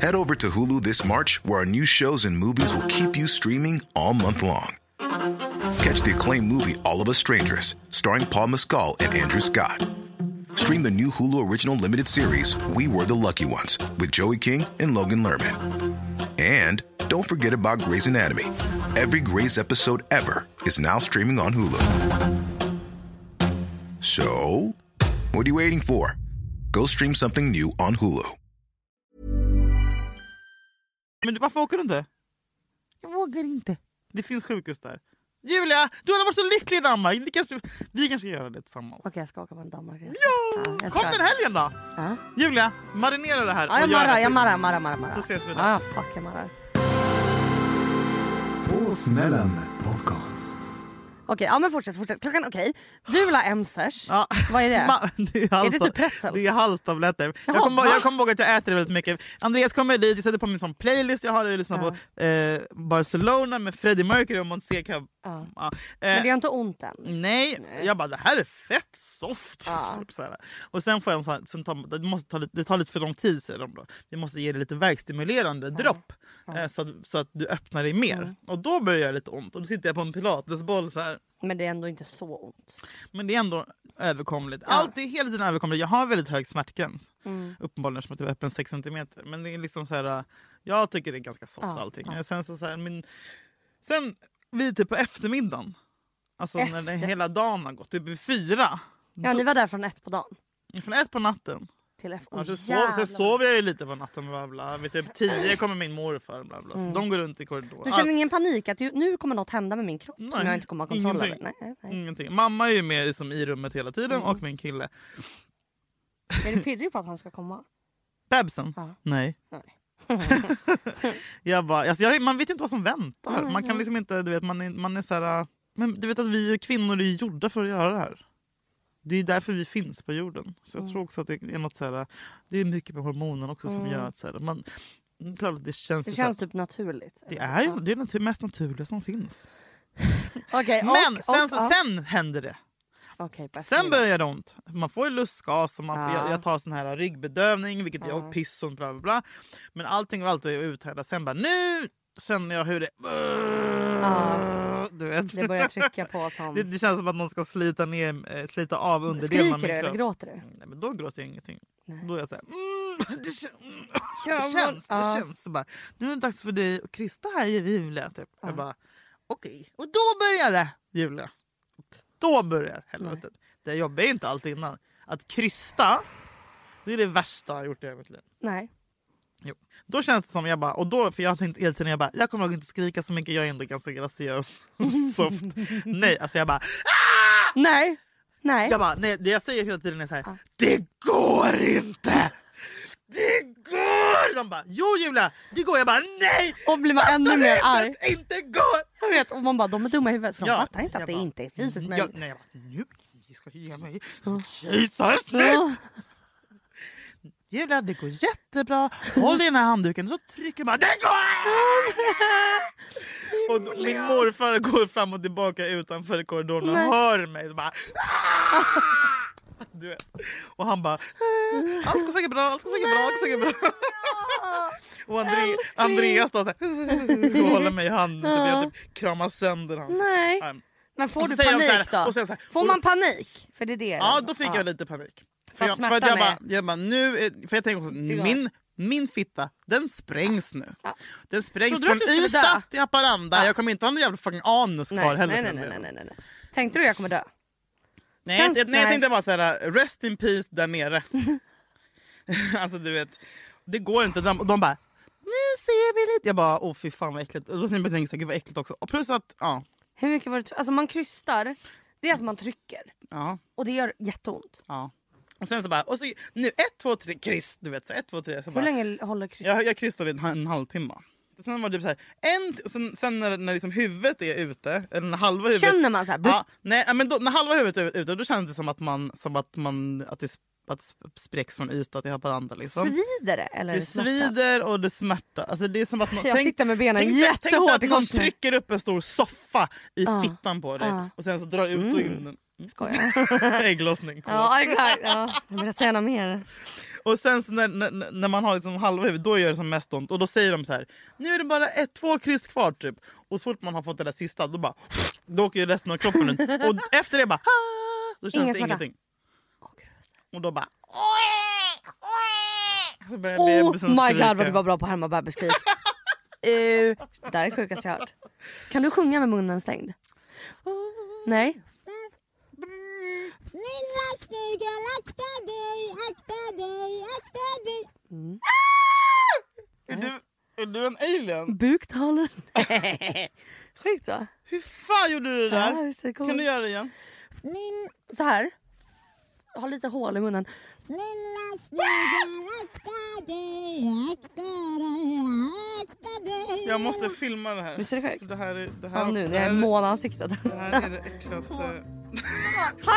[SPEAKER 4] Head over to Hulu this March, where our new shows and movies will keep you streaming all month long. Catch the acclaimed movie All of Us Strangers, starring Paul Mescal and Andrew Scott. Stream the new Hulu original limited series We Were the Lucky Ones with Joey King and Logan Lerman. And don't forget about Grey's Anatomy. Every Grey's episode ever is now streaming on Hulu. So, what are you waiting for? Go stream something new on Hulu.
[SPEAKER 2] men du- varför åker du inte? Jag vågar inte. Det finns sjukhus där. Julia, du har varit så lycklig i Danmark. Vi kanske, vi kanske gör det tillsammans.
[SPEAKER 3] Okej, jag ska åka på en Danmarkresa.
[SPEAKER 2] Ja!
[SPEAKER 3] jag
[SPEAKER 2] Kom
[SPEAKER 3] ska.
[SPEAKER 2] den helgen då!
[SPEAKER 3] Ja.
[SPEAKER 2] Julia, marinera det här.
[SPEAKER 3] Ja, jag
[SPEAKER 2] och gör
[SPEAKER 3] marrar,
[SPEAKER 2] det.
[SPEAKER 3] jag marrar, marrar, marrar, marrar.
[SPEAKER 2] Så ses vi då.
[SPEAKER 3] Ja, fuck jag marrar.
[SPEAKER 6] På smällen podcast.
[SPEAKER 3] Okej, ja men fortsätt, fortsätt. Klockan, okej. Du vill ha emsers.
[SPEAKER 2] Ja.
[SPEAKER 3] Vad är det?
[SPEAKER 2] Ma- det är, halsta-
[SPEAKER 3] typ pretzels?
[SPEAKER 2] Det är halstabletter.
[SPEAKER 3] Jaha,
[SPEAKER 2] jag kommer
[SPEAKER 3] va?
[SPEAKER 2] jag kommer ihåg att jag äter det väldigt mycket. Andreas kommer dit, jag sätter på min sån playlist. Jag har ju lyssnat på eh, Barcelona med Freddie Mercury och Monse ja.
[SPEAKER 3] Ja.
[SPEAKER 2] eh,
[SPEAKER 3] Men det är inte ont än.
[SPEAKER 2] Nej. jag bara det här är fett soft.
[SPEAKER 3] Ja.
[SPEAKER 2] Typ så här. Och sen får jag en sån här, sen tar, det, måste ta lite, det tar lite för lång tid säger de då. Vi måste ge det lite värkstimulerande dropp eh, så, att, så att du öppnar dig mer.
[SPEAKER 3] Mm.
[SPEAKER 2] Och då börjar jag lite ont och då sitter jag på en pilatesboll så här.
[SPEAKER 3] Men det är ändå inte så ont.
[SPEAKER 2] Men det är ändå överkomligt. Allt är hela tiden överkomligt. Jag har väldigt hög smärtgräns.
[SPEAKER 3] Mm.
[SPEAKER 2] Uppenbarligen som att det var öppen 6 cm. Men det är liksom så här, äh, jag tycker det är ganska soft allting. Sen, så så här, min, sen vi är typ på eftermiddagen, alltså när det,
[SPEAKER 3] Efter.
[SPEAKER 2] hela dagen har gått, typ vid fyra.
[SPEAKER 3] Ja, ni var där från ett på dagen.
[SPEAKER 2] Från ett på natten.
[SPEAKER 3] Till F.
[SPEAKER 2] Ja,
[SPEAKER 3] Oh,
[SPEAKER 2] så sov, sen sover jag ju lite på natten. Bla bla. Vid typ tio kommer min morfar. Bla bla. Så de går runt i korridoren.
[SPEAKER 3] Mm. Du
[SPEAKER 2] Allt-
[SPEAKER 3] känner ingen panik att ju- nu kommer något hända med min kropp som jag inte kommer ha kontroll över?
[SPEAKER 2] ingenting.
[SPEAKER 3] Nej, nej, nej.
[SPEAKER 2] Ingenting. Mamma är ju med liksom, i rummet hela tiden
[SPEAKER 3] Mm.
[SPEAKER 2] och min kille.
[SPEAKER 3] Är du pirrig på att han ska komma?
[SPEAKER 2] Bebisen?
[SPEAKER 3] Ja.
[SPEAKER 2] Nej.
[SPEAKER 3] Nej.
[SPEAKER 2] jag bara, alltså jag, man vet inte vad som väntar. Man kan liksom inte, du vet, man är, man är så här, äh, men du vet att vi kvinnor är gjorda för att göra det här. Det är därför vi finns på jorden. Så
[SPEAKER 3] Mm.
[SPEAKER 2] jag tror också att det är något så här, äh, det är mycket med hormonen också som gör att så här, man, mm, klart att det känns,
[SPEAKER 3] Det
[SPEAKER 2] ju så här,
[SPEAKER 3] känns typ naturligt.
[SPEAKER 2] det är ju det är natur, mest naturliga som finns.
[SPEAKER 3] Okej, och-
[SPEAKER 2] Men sen,
[SPEAKER 3] och- och-
[SPEAKER 2] sen händer det.
[SPEAKER 3] Okej, på
[SPEAKER 2] Sen
[SPEAKER 3] eftermiddagen.
[SPEAKER 2] börjar det ont. Man får ju lustgas och man får,
[SPEAKER 3] Ja.
[SPEAKER 2] jag, jag tar sån här ryggbedövning, vilket jag piss och bla bla bla. Men allting och allt är uthärdat. Sen bara nu känner jag hur det... Du vet.
[SPEAKER 3] Det börjar trycka på som...
[SPEAKER 2] Det, det känns som att någon ska slita, ner, eh, slita av underdelen av
[SPEAKER 3] Skriker
[SPEAKER 2] min
[SPEAKER 3] du eller
[SPEAKER 2] kropp.
[SPEAKER 3] gråter du?
[SPEAKER 2] Nej, men då gråter jag ingenting. Då är jag såhär... Mm, det, kän- mm,
[SPEAKER 3] Ja,
[SPEAKER 2] det
[SPEAKER 3] men-
[SPEAKER 2] känns, det
[SPEAKER 3] ja.
[SPEAKER 2] känns. Så bara, nu är det dags för dig och Krista här i Julia. Typ. Jag bara, okej. Och då börjar det, Julia. Då börjar helvetet. Det jobbar inte allt innan. Att krysta, det är det värsta jag har gjort i hela mitt liv.
[SPEAKER 3] Nej.
[SPEAKER 2] Jo. Då känns det som jag bara, och då, för jag har tänkt hela tiden, jag bara, jag kommer nog inte skrika så mycket, jag är ändå ganska graciös och soft. Nej, alltså jag bara,
[SPEAKER 3] Nej. Nej.
[SPEAKER 2] jag bara, nej, det jag säger hela tiden är så här. Det går inte! Det går! De bara, jo Julia, det går. Jag bara, nej!
[SPEAKER 3] Och blir man
[SPEAKER 2] fattar
[SPEAKER 3] ännu
[SPEAKER 2] du
[SPEAKER 3] mer
[SPEAKER 2] inte
[SPEAKER 3] arg?
[SPEAKER 2] att det Inte går!
[SPEAKER 3] Jag vet, och man bara de är dumma i huvudet för de fattar inte att
[SPEAKER 2] jag
[SPEAKER 3] det
[SPEAKER 2] bara,
[SPEAKER 3] inte är fysiskt
[SPEAKER 2] "Ja,
[SPEAKER 3] möjligt.
[SPEAKER 2] Nej, jag bara, nu ni ska ge mig kejsarsnitt! Julia, det går jättebra. Håll i den här handduken så trycker man. Det går! Och då, min morfar går fram och tillbaka utanför korridoren och
[SPEAKER 3] Nej.
[SPEAKER 2] hör mig. Så bara, "Ah!" du vet. Och han bara... "Eh, Allt går säkert bra, allt går säkert bra. Allt går säkert bra. Och Andre, Andreas då, så här, och håller mig i handen. Typ, jag typ kramar sönder hans
[SPEAKER 3] Nej.
[SPEAKER 2] arm.
[SPEAKER 3] Men får
[SPEAKER 2] Och
[SPEAKER 3] du
[SPEAKER 2] så säger de så
[SPEAKER 3] panik
[SPEAKER 2] här-
[SPEAKER 3] då?
[SPEAKER 2] och sen så här-
[SPEAKER 3] får
[SPEAKER 2] och-
[SPEAKER 3] man panik? För det är det
[SPEAKER 2] Ja, då fick jag lite panik. För jag, för att
[SPEAKER 3] smärtan
[SPEAKER 2] jag, bara,
[SPEAKER 3] är-
[SPEAKER 2] jag bara, nu är, för jag tänker också,
[SPEAKER 3] går.
[SPEAKER 2] min, min fitta, den sprängs nu. Den sprängs
[SPEAKER 3] Trodde du
[SPEAKER 2] från
[SPEAKER 3] att du skulle
[SPEAKER 2] Ystad
[SPEAKER 3] dö?
[SPEAKER 2] till Haparanda. Jag kommer inte ha någon jävla fucking anus kvar
[SPEAKER 3] nej,
[SPEAKER 2] heller.
[SPEAKER 3] nej,
[SPEAKER 2] för
[SPEAKER 3] nej,
[SPEAKER 2] den
[SPEAKER 3] nej, nej,
[SPEAKER 2] delen.
[SPEAKER 3] nej, nej. Tänkte du jag kommer dö?
[SPEAKER 2] Nej, jag,
[SPEAKER 3] Känns-
[SPEAKER 2] nej, jag
[SPEAKER 3] nej.
[SPEAKER 2] tänkte bara så här, rest in peace där nere. alltså du vet, det går inte. De, de bara, nu ser vi lite. Jag bara, åh fy fan vad äckligt. Och då tänkte jag, gud vad äckligt också. Och plus att, ja.
[SPEAKER 3] Hur mycket var det? Alltså man krystar, det är att man trycker.
[SPEAKER 2] ja.
[SPEAKER 3] Och det gör jätteont.
[SPEAKER 2] Ja. Och sen så bara, och så, nu ett, två, tre, kryss. Du vet, så ett, två, tre. Så
[SPEAKER 3] Hur
[SPEAKER 2] bara,
[SPEAKER 3] länge håller krysset?
[SPEAKER 2] jag, jag kryssade en, en halvtimme. Sen var det typ så här, en, sen, sen när, när liksom huvudet är ute, eller när halva huvudet...
[SPEAKER 3] Känner man så här,
[SPEAKER 2] Ja, nej, ja, men då, när halva huvudet är ute då känns det som att man, som att man att det, sp- att det spräcks från Ystad till Haparanda. Liksom.
[SPEAKER 3] Svider det? Eller är
[SPEAKER 2] Det
[SPEAKER 3] smärta?
[SPEAKER 2] svider och det smärtar. Alltså det är som att någon,
[SPEAKER 3] Jag sitter med benen
[SPEAKER 2] tänk, dig-
[SPEAKER 3] jättehårt
[SPEAKER 2] Tänk dig
[SPEAKER 3] i
[SPEAKER 2] att någon
[SPEAKER 3] kors nu.
[SPEAKER 2] trycker upp en stor soffa i
[SPEAKER 3] Ja.
[SPEAKER 2] fittan på dig
[SPEAKER 3] Ja.
[SPEAKER 2] och sen så drar ut och in den. Mm.
[SPEAKER 3] Skojar.
[SPEAKER 2] Ägglossning. kåt.
[SPEAKER 3] Ja exakt. Ja. Jag vill säga något mer.
[SPEAKER 2] Och sen så när, när, när man har liksom halva huvudet, då gör det som mest ont. Och då säger de så här, nu är det bara ett, två kryss kvar typ. Och så fort man har fått det där sista, då bara, då åker ju resten av kroppen ut. Och efter det bara, "Ah!" då känns
[SPEAKER 3] Ingen
[SPEAKER 2] det
[SPEAKER 3] smärta.
[SPEAKER 2] ingenting.
[SPEAKER 3] Åh, gud.
[SPEAKER 2] Och då bara, så börjar
[SPEAKER 3] Oh
[SPEAKER 2] bebisen
[SPEAKER 3] my
[SPEAKER 2] skrika.
[SPEAKER 3] god vad du var bra på att härma bebisskrik. uh, det där är sjukast jag hört. Kan du sjunga med munnen stängd? Nej.
[SPEAKER 7] Min rackstugel, akta dig, akta dig, akta dig
[SPEAKER 2] Är du, är du en alien?
[SPEAKER 3] Buktaler. Sjukt va?
[SPEAKER 2] Hur fan gjorde du det
[SPEAKER 3] Ja,
[SPEAKER 2] där?
[SPEAKER 3] visst är det coolt.
[SPEAKER 2] kan du göra det igen?
[SPEAKER 7] Min,
[SPEAKER 3] Så här. Jag har lite hål i munnen.
[SPEAKER 7] min rackstugel, akta dig, akta dig, akta dig
[SPEAKER 2] Jag måste filma det här.
[SPEAKER 3] Visst är det sjukt?
[SPEAKER 2] Det här är det här,
[SPEAKER 3] Ja, nu
[SPEAKER 2] också-
[SPEAKER 3] när
[SPEAKER 2] det
[SPEAKER 3] jag
[SPEAKER 2] här
[SPEAKER 3] är
[SPEAKER 2] är-
[SPEAKER 3] månansiktet.
[SPEAKER 2] det här är det äckligaste.
[SPEAKER 3] Han
[SPEAKER 2] Nej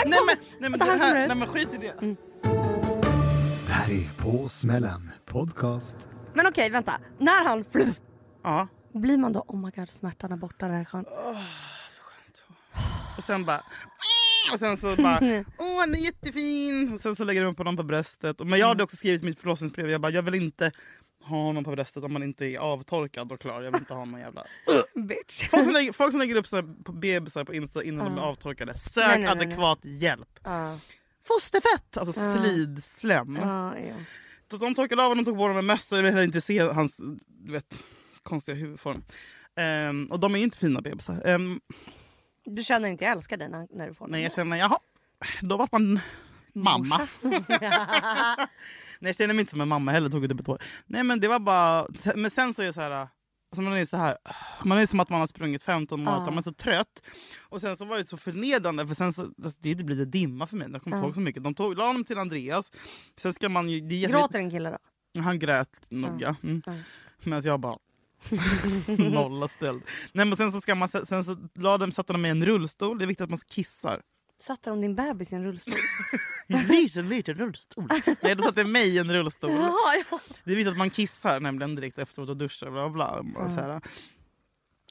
[SPEAKER 2] men, nej, men, det
[SPEAKER 3] Vänta, han kommer
[SPEAKER 2] här,
[SPEAKER 3] Mm. ut.
[SPEAKER 2] nej, men skit i det.
[SPEAKER 6] Det här är På smällen podcast.
[SPEAKER 3] Men okej vänta. När han...
[SPEAKER 2] Ja.
[SPEAKER 3] Blir man då oh my god smärtan är borta där skönt.
[SPEAKER 2] Och sen bara... Och sen så bara... Åh, han är jättefin! Och sen så lägger de upp honom på bröstet. Och- Men jag hade också skrivit mitt förlossningsbrev. Jag bara, jag vill inte ha honom på bröstet om man inte är avtorkad och klar. Jag vill inte ha någon jävla...
[SPEAKER 3] Bitch.
[SPEAKER 2] Folk som lägger, folk som lägger upp så här på bebisar på Insta innan de är avtorkade. Sök
[SPEAKER 3] Nej, nej, nej, nej.
[SPEAKER 2] adekvat hjälp.
[SPEAKER 3] Ja.
[SPEAKER 2] Fosterfett! Alltså slidslem.
[SPEAKER 3] Ja, ja.
[SPEAKER 2] Så de torkade av honom, tog på honom en mössa. Jag ville inte se hans du vet, konstiga huvudform. Ehm, och de är ju inte fina bebisar. Ehm,
[SPEAKER 3] Du känner inte jag älskar dig när, när du får den?
[SPEAKER 2] Nej, jag känner, jaha, då vart man mamma. Nej, jag känner mig inte som en mamma heller, tog det på tår. Nej, men det var bara, men sen så är jag så här, alltså man är ju så här, man är som att man har sprungit 15 maraton, man är så trött. Och sen så var det så förnedrande, för sen så, alltså, det blir det dimma för mig, jag kommer inte ihåg så mycket. De tog, la honom till Andreas, sen ska man ju, det är jätteviktigt-
[SPEAKER 3] Gråter en kille då?
[SPEAKER 2] han grät nog ja. Mm. Medan jag bara nolla ställd. Nej, men sen så ska man, sen så la de, satte de mig i en rullstol. Det är viktigt att man kissar.
[SPEAKER 3] Satte de din bebis i en rullstol?
[SPEAKER 2] En liten, liten rullstol. Nej, då satte mig i en rullstol.
[SPEAKER 3] Jaha, ja.
[SPEAKER 2] Det är viktigt att man kissar nämligen direkt efteråt och duschar. Bla bla, bla, så här.
[SPEAKER 3] den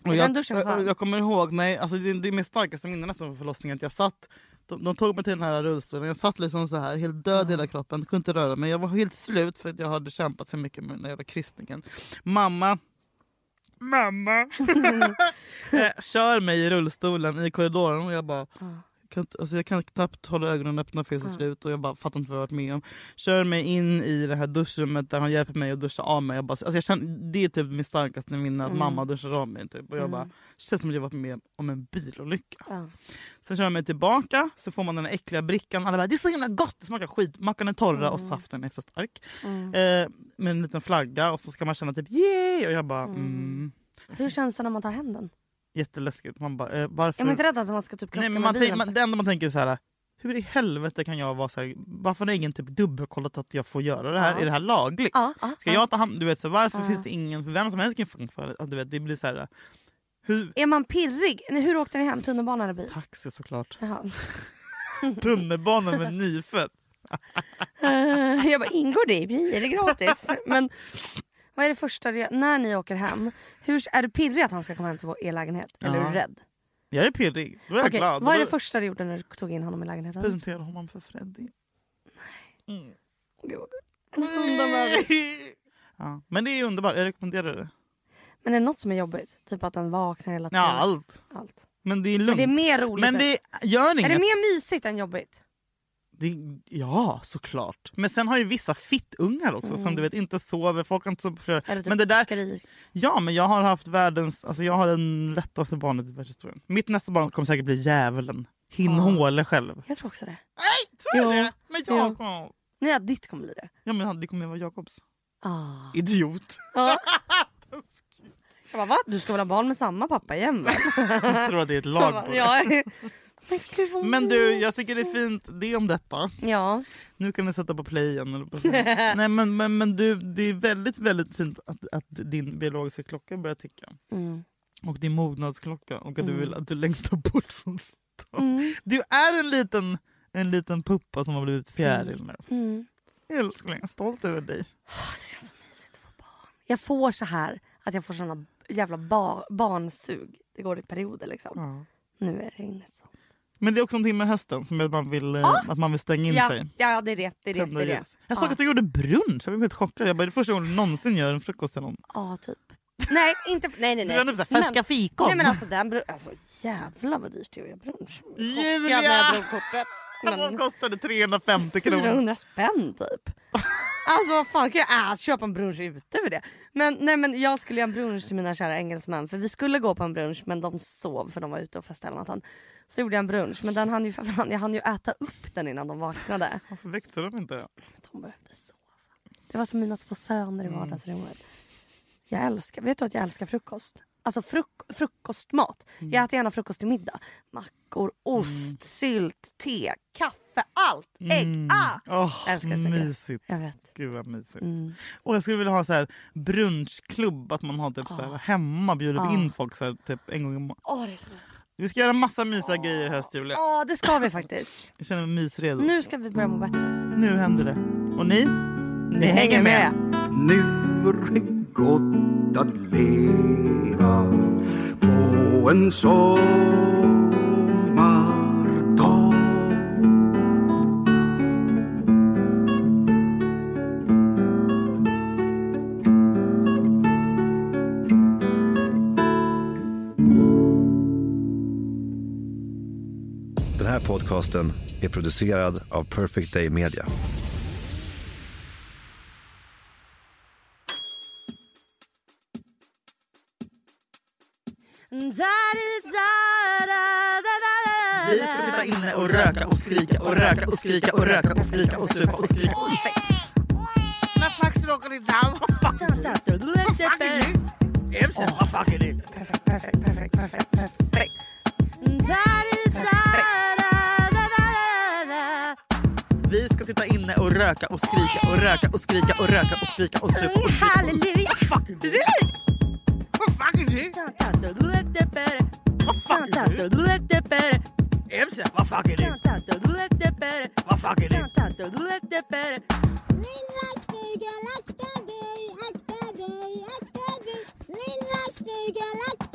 [SPEAKER 2] Och jag,
[SPEAKER 3] duschen skön?
[SPEAKER 2] jag, jag kommer ihåg, nej, alltså det, det är mitt starkaste minne nästan från förlossningen att jag satt de, de tog mig till den här rullstolen, jag satt liksom så här helt död i hela kroppen, kunde inte röra mig. Jag var helt slut för att jag hade kämpat så mycket med den här jävla kristningen. Mamma, mamma, eh, kör mig i rullstolen i korridoren och jag bara kan, inte- alltså jag kan knappt hålla ögonen öppna för jag är så slut och jag bara fattar inte vad jag varit med om. Kör mig in i det här duschrummet där han hjälper mig att duscha av mig. Jag bara, alltså jag känner, det är typ mitt starkaste minne att mamma duschar av mig. Typ. Och jag bara, känns som att jag varit med om en bilolycka.
[SPEAKER 3] Ja.
[SPEAKER 2] Sen kör jag mig tillbaka, så får man den här äckliga brickan. Alla bara, det är så himla gott, det smakar skit. Mackan är torra och saften är för stark.
[SPEAKER 3] Mm.
[SPEAKER 2] Eh, med en liten flagga och så ska man känna typ yay! Och jag bara, mm.
[SPEAKER 3] Hur känns det när man tar hem den?
[SPEAKER 2] jätteläskigt. Man bara, eh, varför?
[SPEAKER 3] Är man inte rädd att man ska typ krocka
[SPEAKER 2] Nej, men
[SPEAKER 3] med
[SPEAKER 2] man tänk,
[SPEAKER 3] bilen?
[SPEAKER 2] man, det enda man tänker är så här. Hur i helvete kan jag vara så här, varför har ingen typ dubbelkollat att jag får göra det här? Är det här lagligt?
[SPEAKER 3] Ja, ja,
[SPEAKER 2] Ska
[SPEAKER 3] ja.
[SPEAKER 2] jag ta hand du vet, så här, varför finns det ingen, för vem som helst kan ju fucking föra- ja, du vet, det blir så här, hur,
[SPEAKER 3] Är man pirrig? Nej, Hur åkte ni hem? Tunnelbana eller bil?
[SPEAKER 2] taxi såklart,
[SPEAKER 3] Jaha.
[SPEAKER 2] tunnelbana med nyfött.
[SPEAKER 3] Eh, Jag bara, ingår det i blir det gratis? Men vad är det första du gör när ni åker hem? Hur, är du pirrig att han ska komma hem till vår er lägenhet? Eller är du
[SPEAKER 2] Ja.
[SPEAKER 3] rädd?
[SPEAKER 2] Jag är pirrig, då är jag
[SPEAKER 3] Okej,
[SPEAKER 2] glad.
[SPEAKER 3] vad är
[SPEAKER 2] Då
[SPEAKER 3] det första du gjorde när du tog in honom i lägenheten? Åh,
[SPEAKER 2] Presenterar honom för Freddy.
[SPEAKER 3] gud, vad gulligt. En underbar-
[SPEAKER 2] ja, men det är underbart, jag rekommenderar det.
[SPEAKER 3] Men är det något som är jobbigt? Typ att han vaknar hela
[SPEAKER 2] Ja,
[SPEAKER 3] tiden?
[SPEAKER 2] allt.
[SPEAKER 3] Allt.
[SPEAKER 2] Men det är lugnt.
[SPEAKER 3] Det är mer roligt.
[SPEAKER 2] Men
[SPEAKER 3] än-
[SPEAKER 2] det gör
[SPEAKER 3] Är
[SPEAKER 2] inget.
[SPEAKER 3] det mer mysigt än jobbigt?
[SPEAKER 2] Det, ja, såklart. Men sen har ju vissa fittungar också som du vet inte sover, folk har inte sovit på flera...
[SPEAKER 3] Mm. Eller typ
[SPEAKER 2] men det där,
[SPEAKER 3] skrik?
[SPEAKER 2] ja, men jag har haft världens... Alltså jag har den lättaste barnet i världshistorien. Mitt nästa barn kommer säkert bli djävulen. Hinhåle själv.
[SPEAKER 3] Jag tror också det.
[SPEAKER 2] Nej, tror
[SPEAKER 3] Jo.
[SPEAKER 2] jag det? Men
[SPEAKER 3] Jo.
[SPEAKER 2] jag kommer...
[SPEAKER 3] Nej, att ditt kommer bli det.
[SPEAKER 2] Ja, men det kommer vara Jakobs.
[SPEAKER 3] Ah.
[SPEAKER 2] Idiot.
[SPEAKER 3] Jag bara, va? Du ska väl ha barn med samma pappa igen? va?
[SPEAKER 2] Jag tror att det är ett
[SPEAKER 3] Jag
[SPEAKER 2] lag
[SPEAKER 3] bara,
[SPEAKER 2] på det.
[SPEAKER 3] ja. Men gud, vad
[SPEAKER 2] Men du, jag
[SPEAKER 3] mysigt.
[SPEAKER 2] tycker det är fint. Det är om detta.
[SPEAKER 3] Ja.
[SPEAKER 2] Nu kan ni sätta på play igen. eller på- Nej, men, men, men du, det är väldigt, väldigt fint att, att din biologiska klocka börjar ticka.
[SPEAKER 3] Mm.
[SPEAKER 2] Och din mognadsklocka och att du vill att du längtar bort från stan.
[SPEAKER 3] Mm.
[SPEAKER 2] Du är en liten, en liten puppa som har blivit fjäril nu.
[SPEAKER 3] Mm. Ah,
[SPEAKER 2] Älskling, jag är stolt över dig.
[SPEAKER 3] Jag får så här att jag får såna jävla ba- barnsug. Det går i perioder liksom. Nu är det inne så.
[SPEAKER 2] Men det är också någonting med hösten som gör att man vill, eh, att man vill stänga in
[SPEAKER 3] Ah! Ja,
[SPEAKER 2] sig.
[SPEAKER 3] ja, det är det. Det är det. det,
[SPEAKER 2] Tända
[SPEAKER 3] är det. Ah.
[SPEAKER 2] ljus. Jag såg att du gjorde brunch, jag blev helt chockad. Jag bara, det är första gången du någonsin gör en frukost till någon.
[SPEAKER 3] Ja, typ. Nej, inte... Nej, nej,
[SPEAKER 2] Du
[SPEAKER 3] nej.
[SPEAKER 2] gör typ så här, färska fikon.
[SPEAKER 3] Nej men alltså, den bru- alltså jävlar vad dyrt det är att göra brunch. Jag var chockad
[SPEAKER 2] Julia!
[SPEAKER 3] när jag drog kortet.
[SPEAKER 2] Vad
[SPEAKER 3] Men
[SPEAKER 2] kostade 350 kronor?
[SPEAKER 3] 400 spänn typ. Alltså vad fan kan jag äh, köpa en brunch ute för det? Men, nej, men jag skulle göra en brunch till mina kära engelsmän för vi skulle gå på en brunch men de sov för de var ute och festade hela natten. Så gjorde jag en brunch men den hann ju, för fan, jag hann ju äta upp den innan de vaknade.
[SPEAKER 2] Varför växte de inte?
[SPEAKER 3] De behövde sova. Mm. Det var som mina små söner i vardagsrummet. Jag älskar, vet du att jag älskar frukost? Alltså fruk, frukostmat. Jag äter gärna frukost till middag. Mackor, ost, sylt, te, kaffe, allt! Ägg! Ah!
[SPEAKER 2] Åh,
[SPEAKER 3] Jag älskar det så mycket.
[SPEAKER 2] mysigt.
[SPEAKER 3] Jag vet. Mm.
[SPEAKER 2] Gud vad mysigt. Och jag skulle vilja ha så här brunchklubb, att man har typ
[SPEAKER 3] Ah.
[SPEAKER 2] så här, hemma bjuder in folk så här, typ en gång i månaden.
[SPEAKER 3] Åh, det är så gott.
[SPEAKER 2] Vi ska göra massa mysiga
[SPEAKER 3] Ah.
[SPEAKER 2] grejer i höst Julia.
[SPEAKER 3] Åh, det ska vi faktiskt.
[SPEAKER 2] Jag känner mig mysredo. Nu,
[SPEAKER 3] Nu ska vi börja må bättre.
[SPEAKER 2] händer det. Och ni? Ni
[SPEAKER 6] Nu är det gott att leva på en sommardag.
[SPEAKER 8] Den här podcasten är producerad av Perfect Day Media.
[SPEAKER 2] Vi ska sitta inne och röka och skrika och röka och skrika och röka och skrika och supa och skrika. När faxen åker i damm, vad fuck Vad fuck är det?
[SPEAKER 3] Perfekt, perfekt, perfekt, perfekt, perfekt.
[SPEAKER 2] Vi ska sitta inne och röka och skrika och röka och skrika och röka och skrika och supa
[SPEAKER 3] Mm,
[SPEAKER 2] och skrika.
[SPEAKER 3] Halleluja!
[SPEAKER 2] Vad fuck är det? Vad fuck är det? Emsa, vad fuck är det? Vad fuck är det?
[SPEAKER 3] Min laxfluga, lakta dig, akta dig, akta dig. Min laxfluga, lakta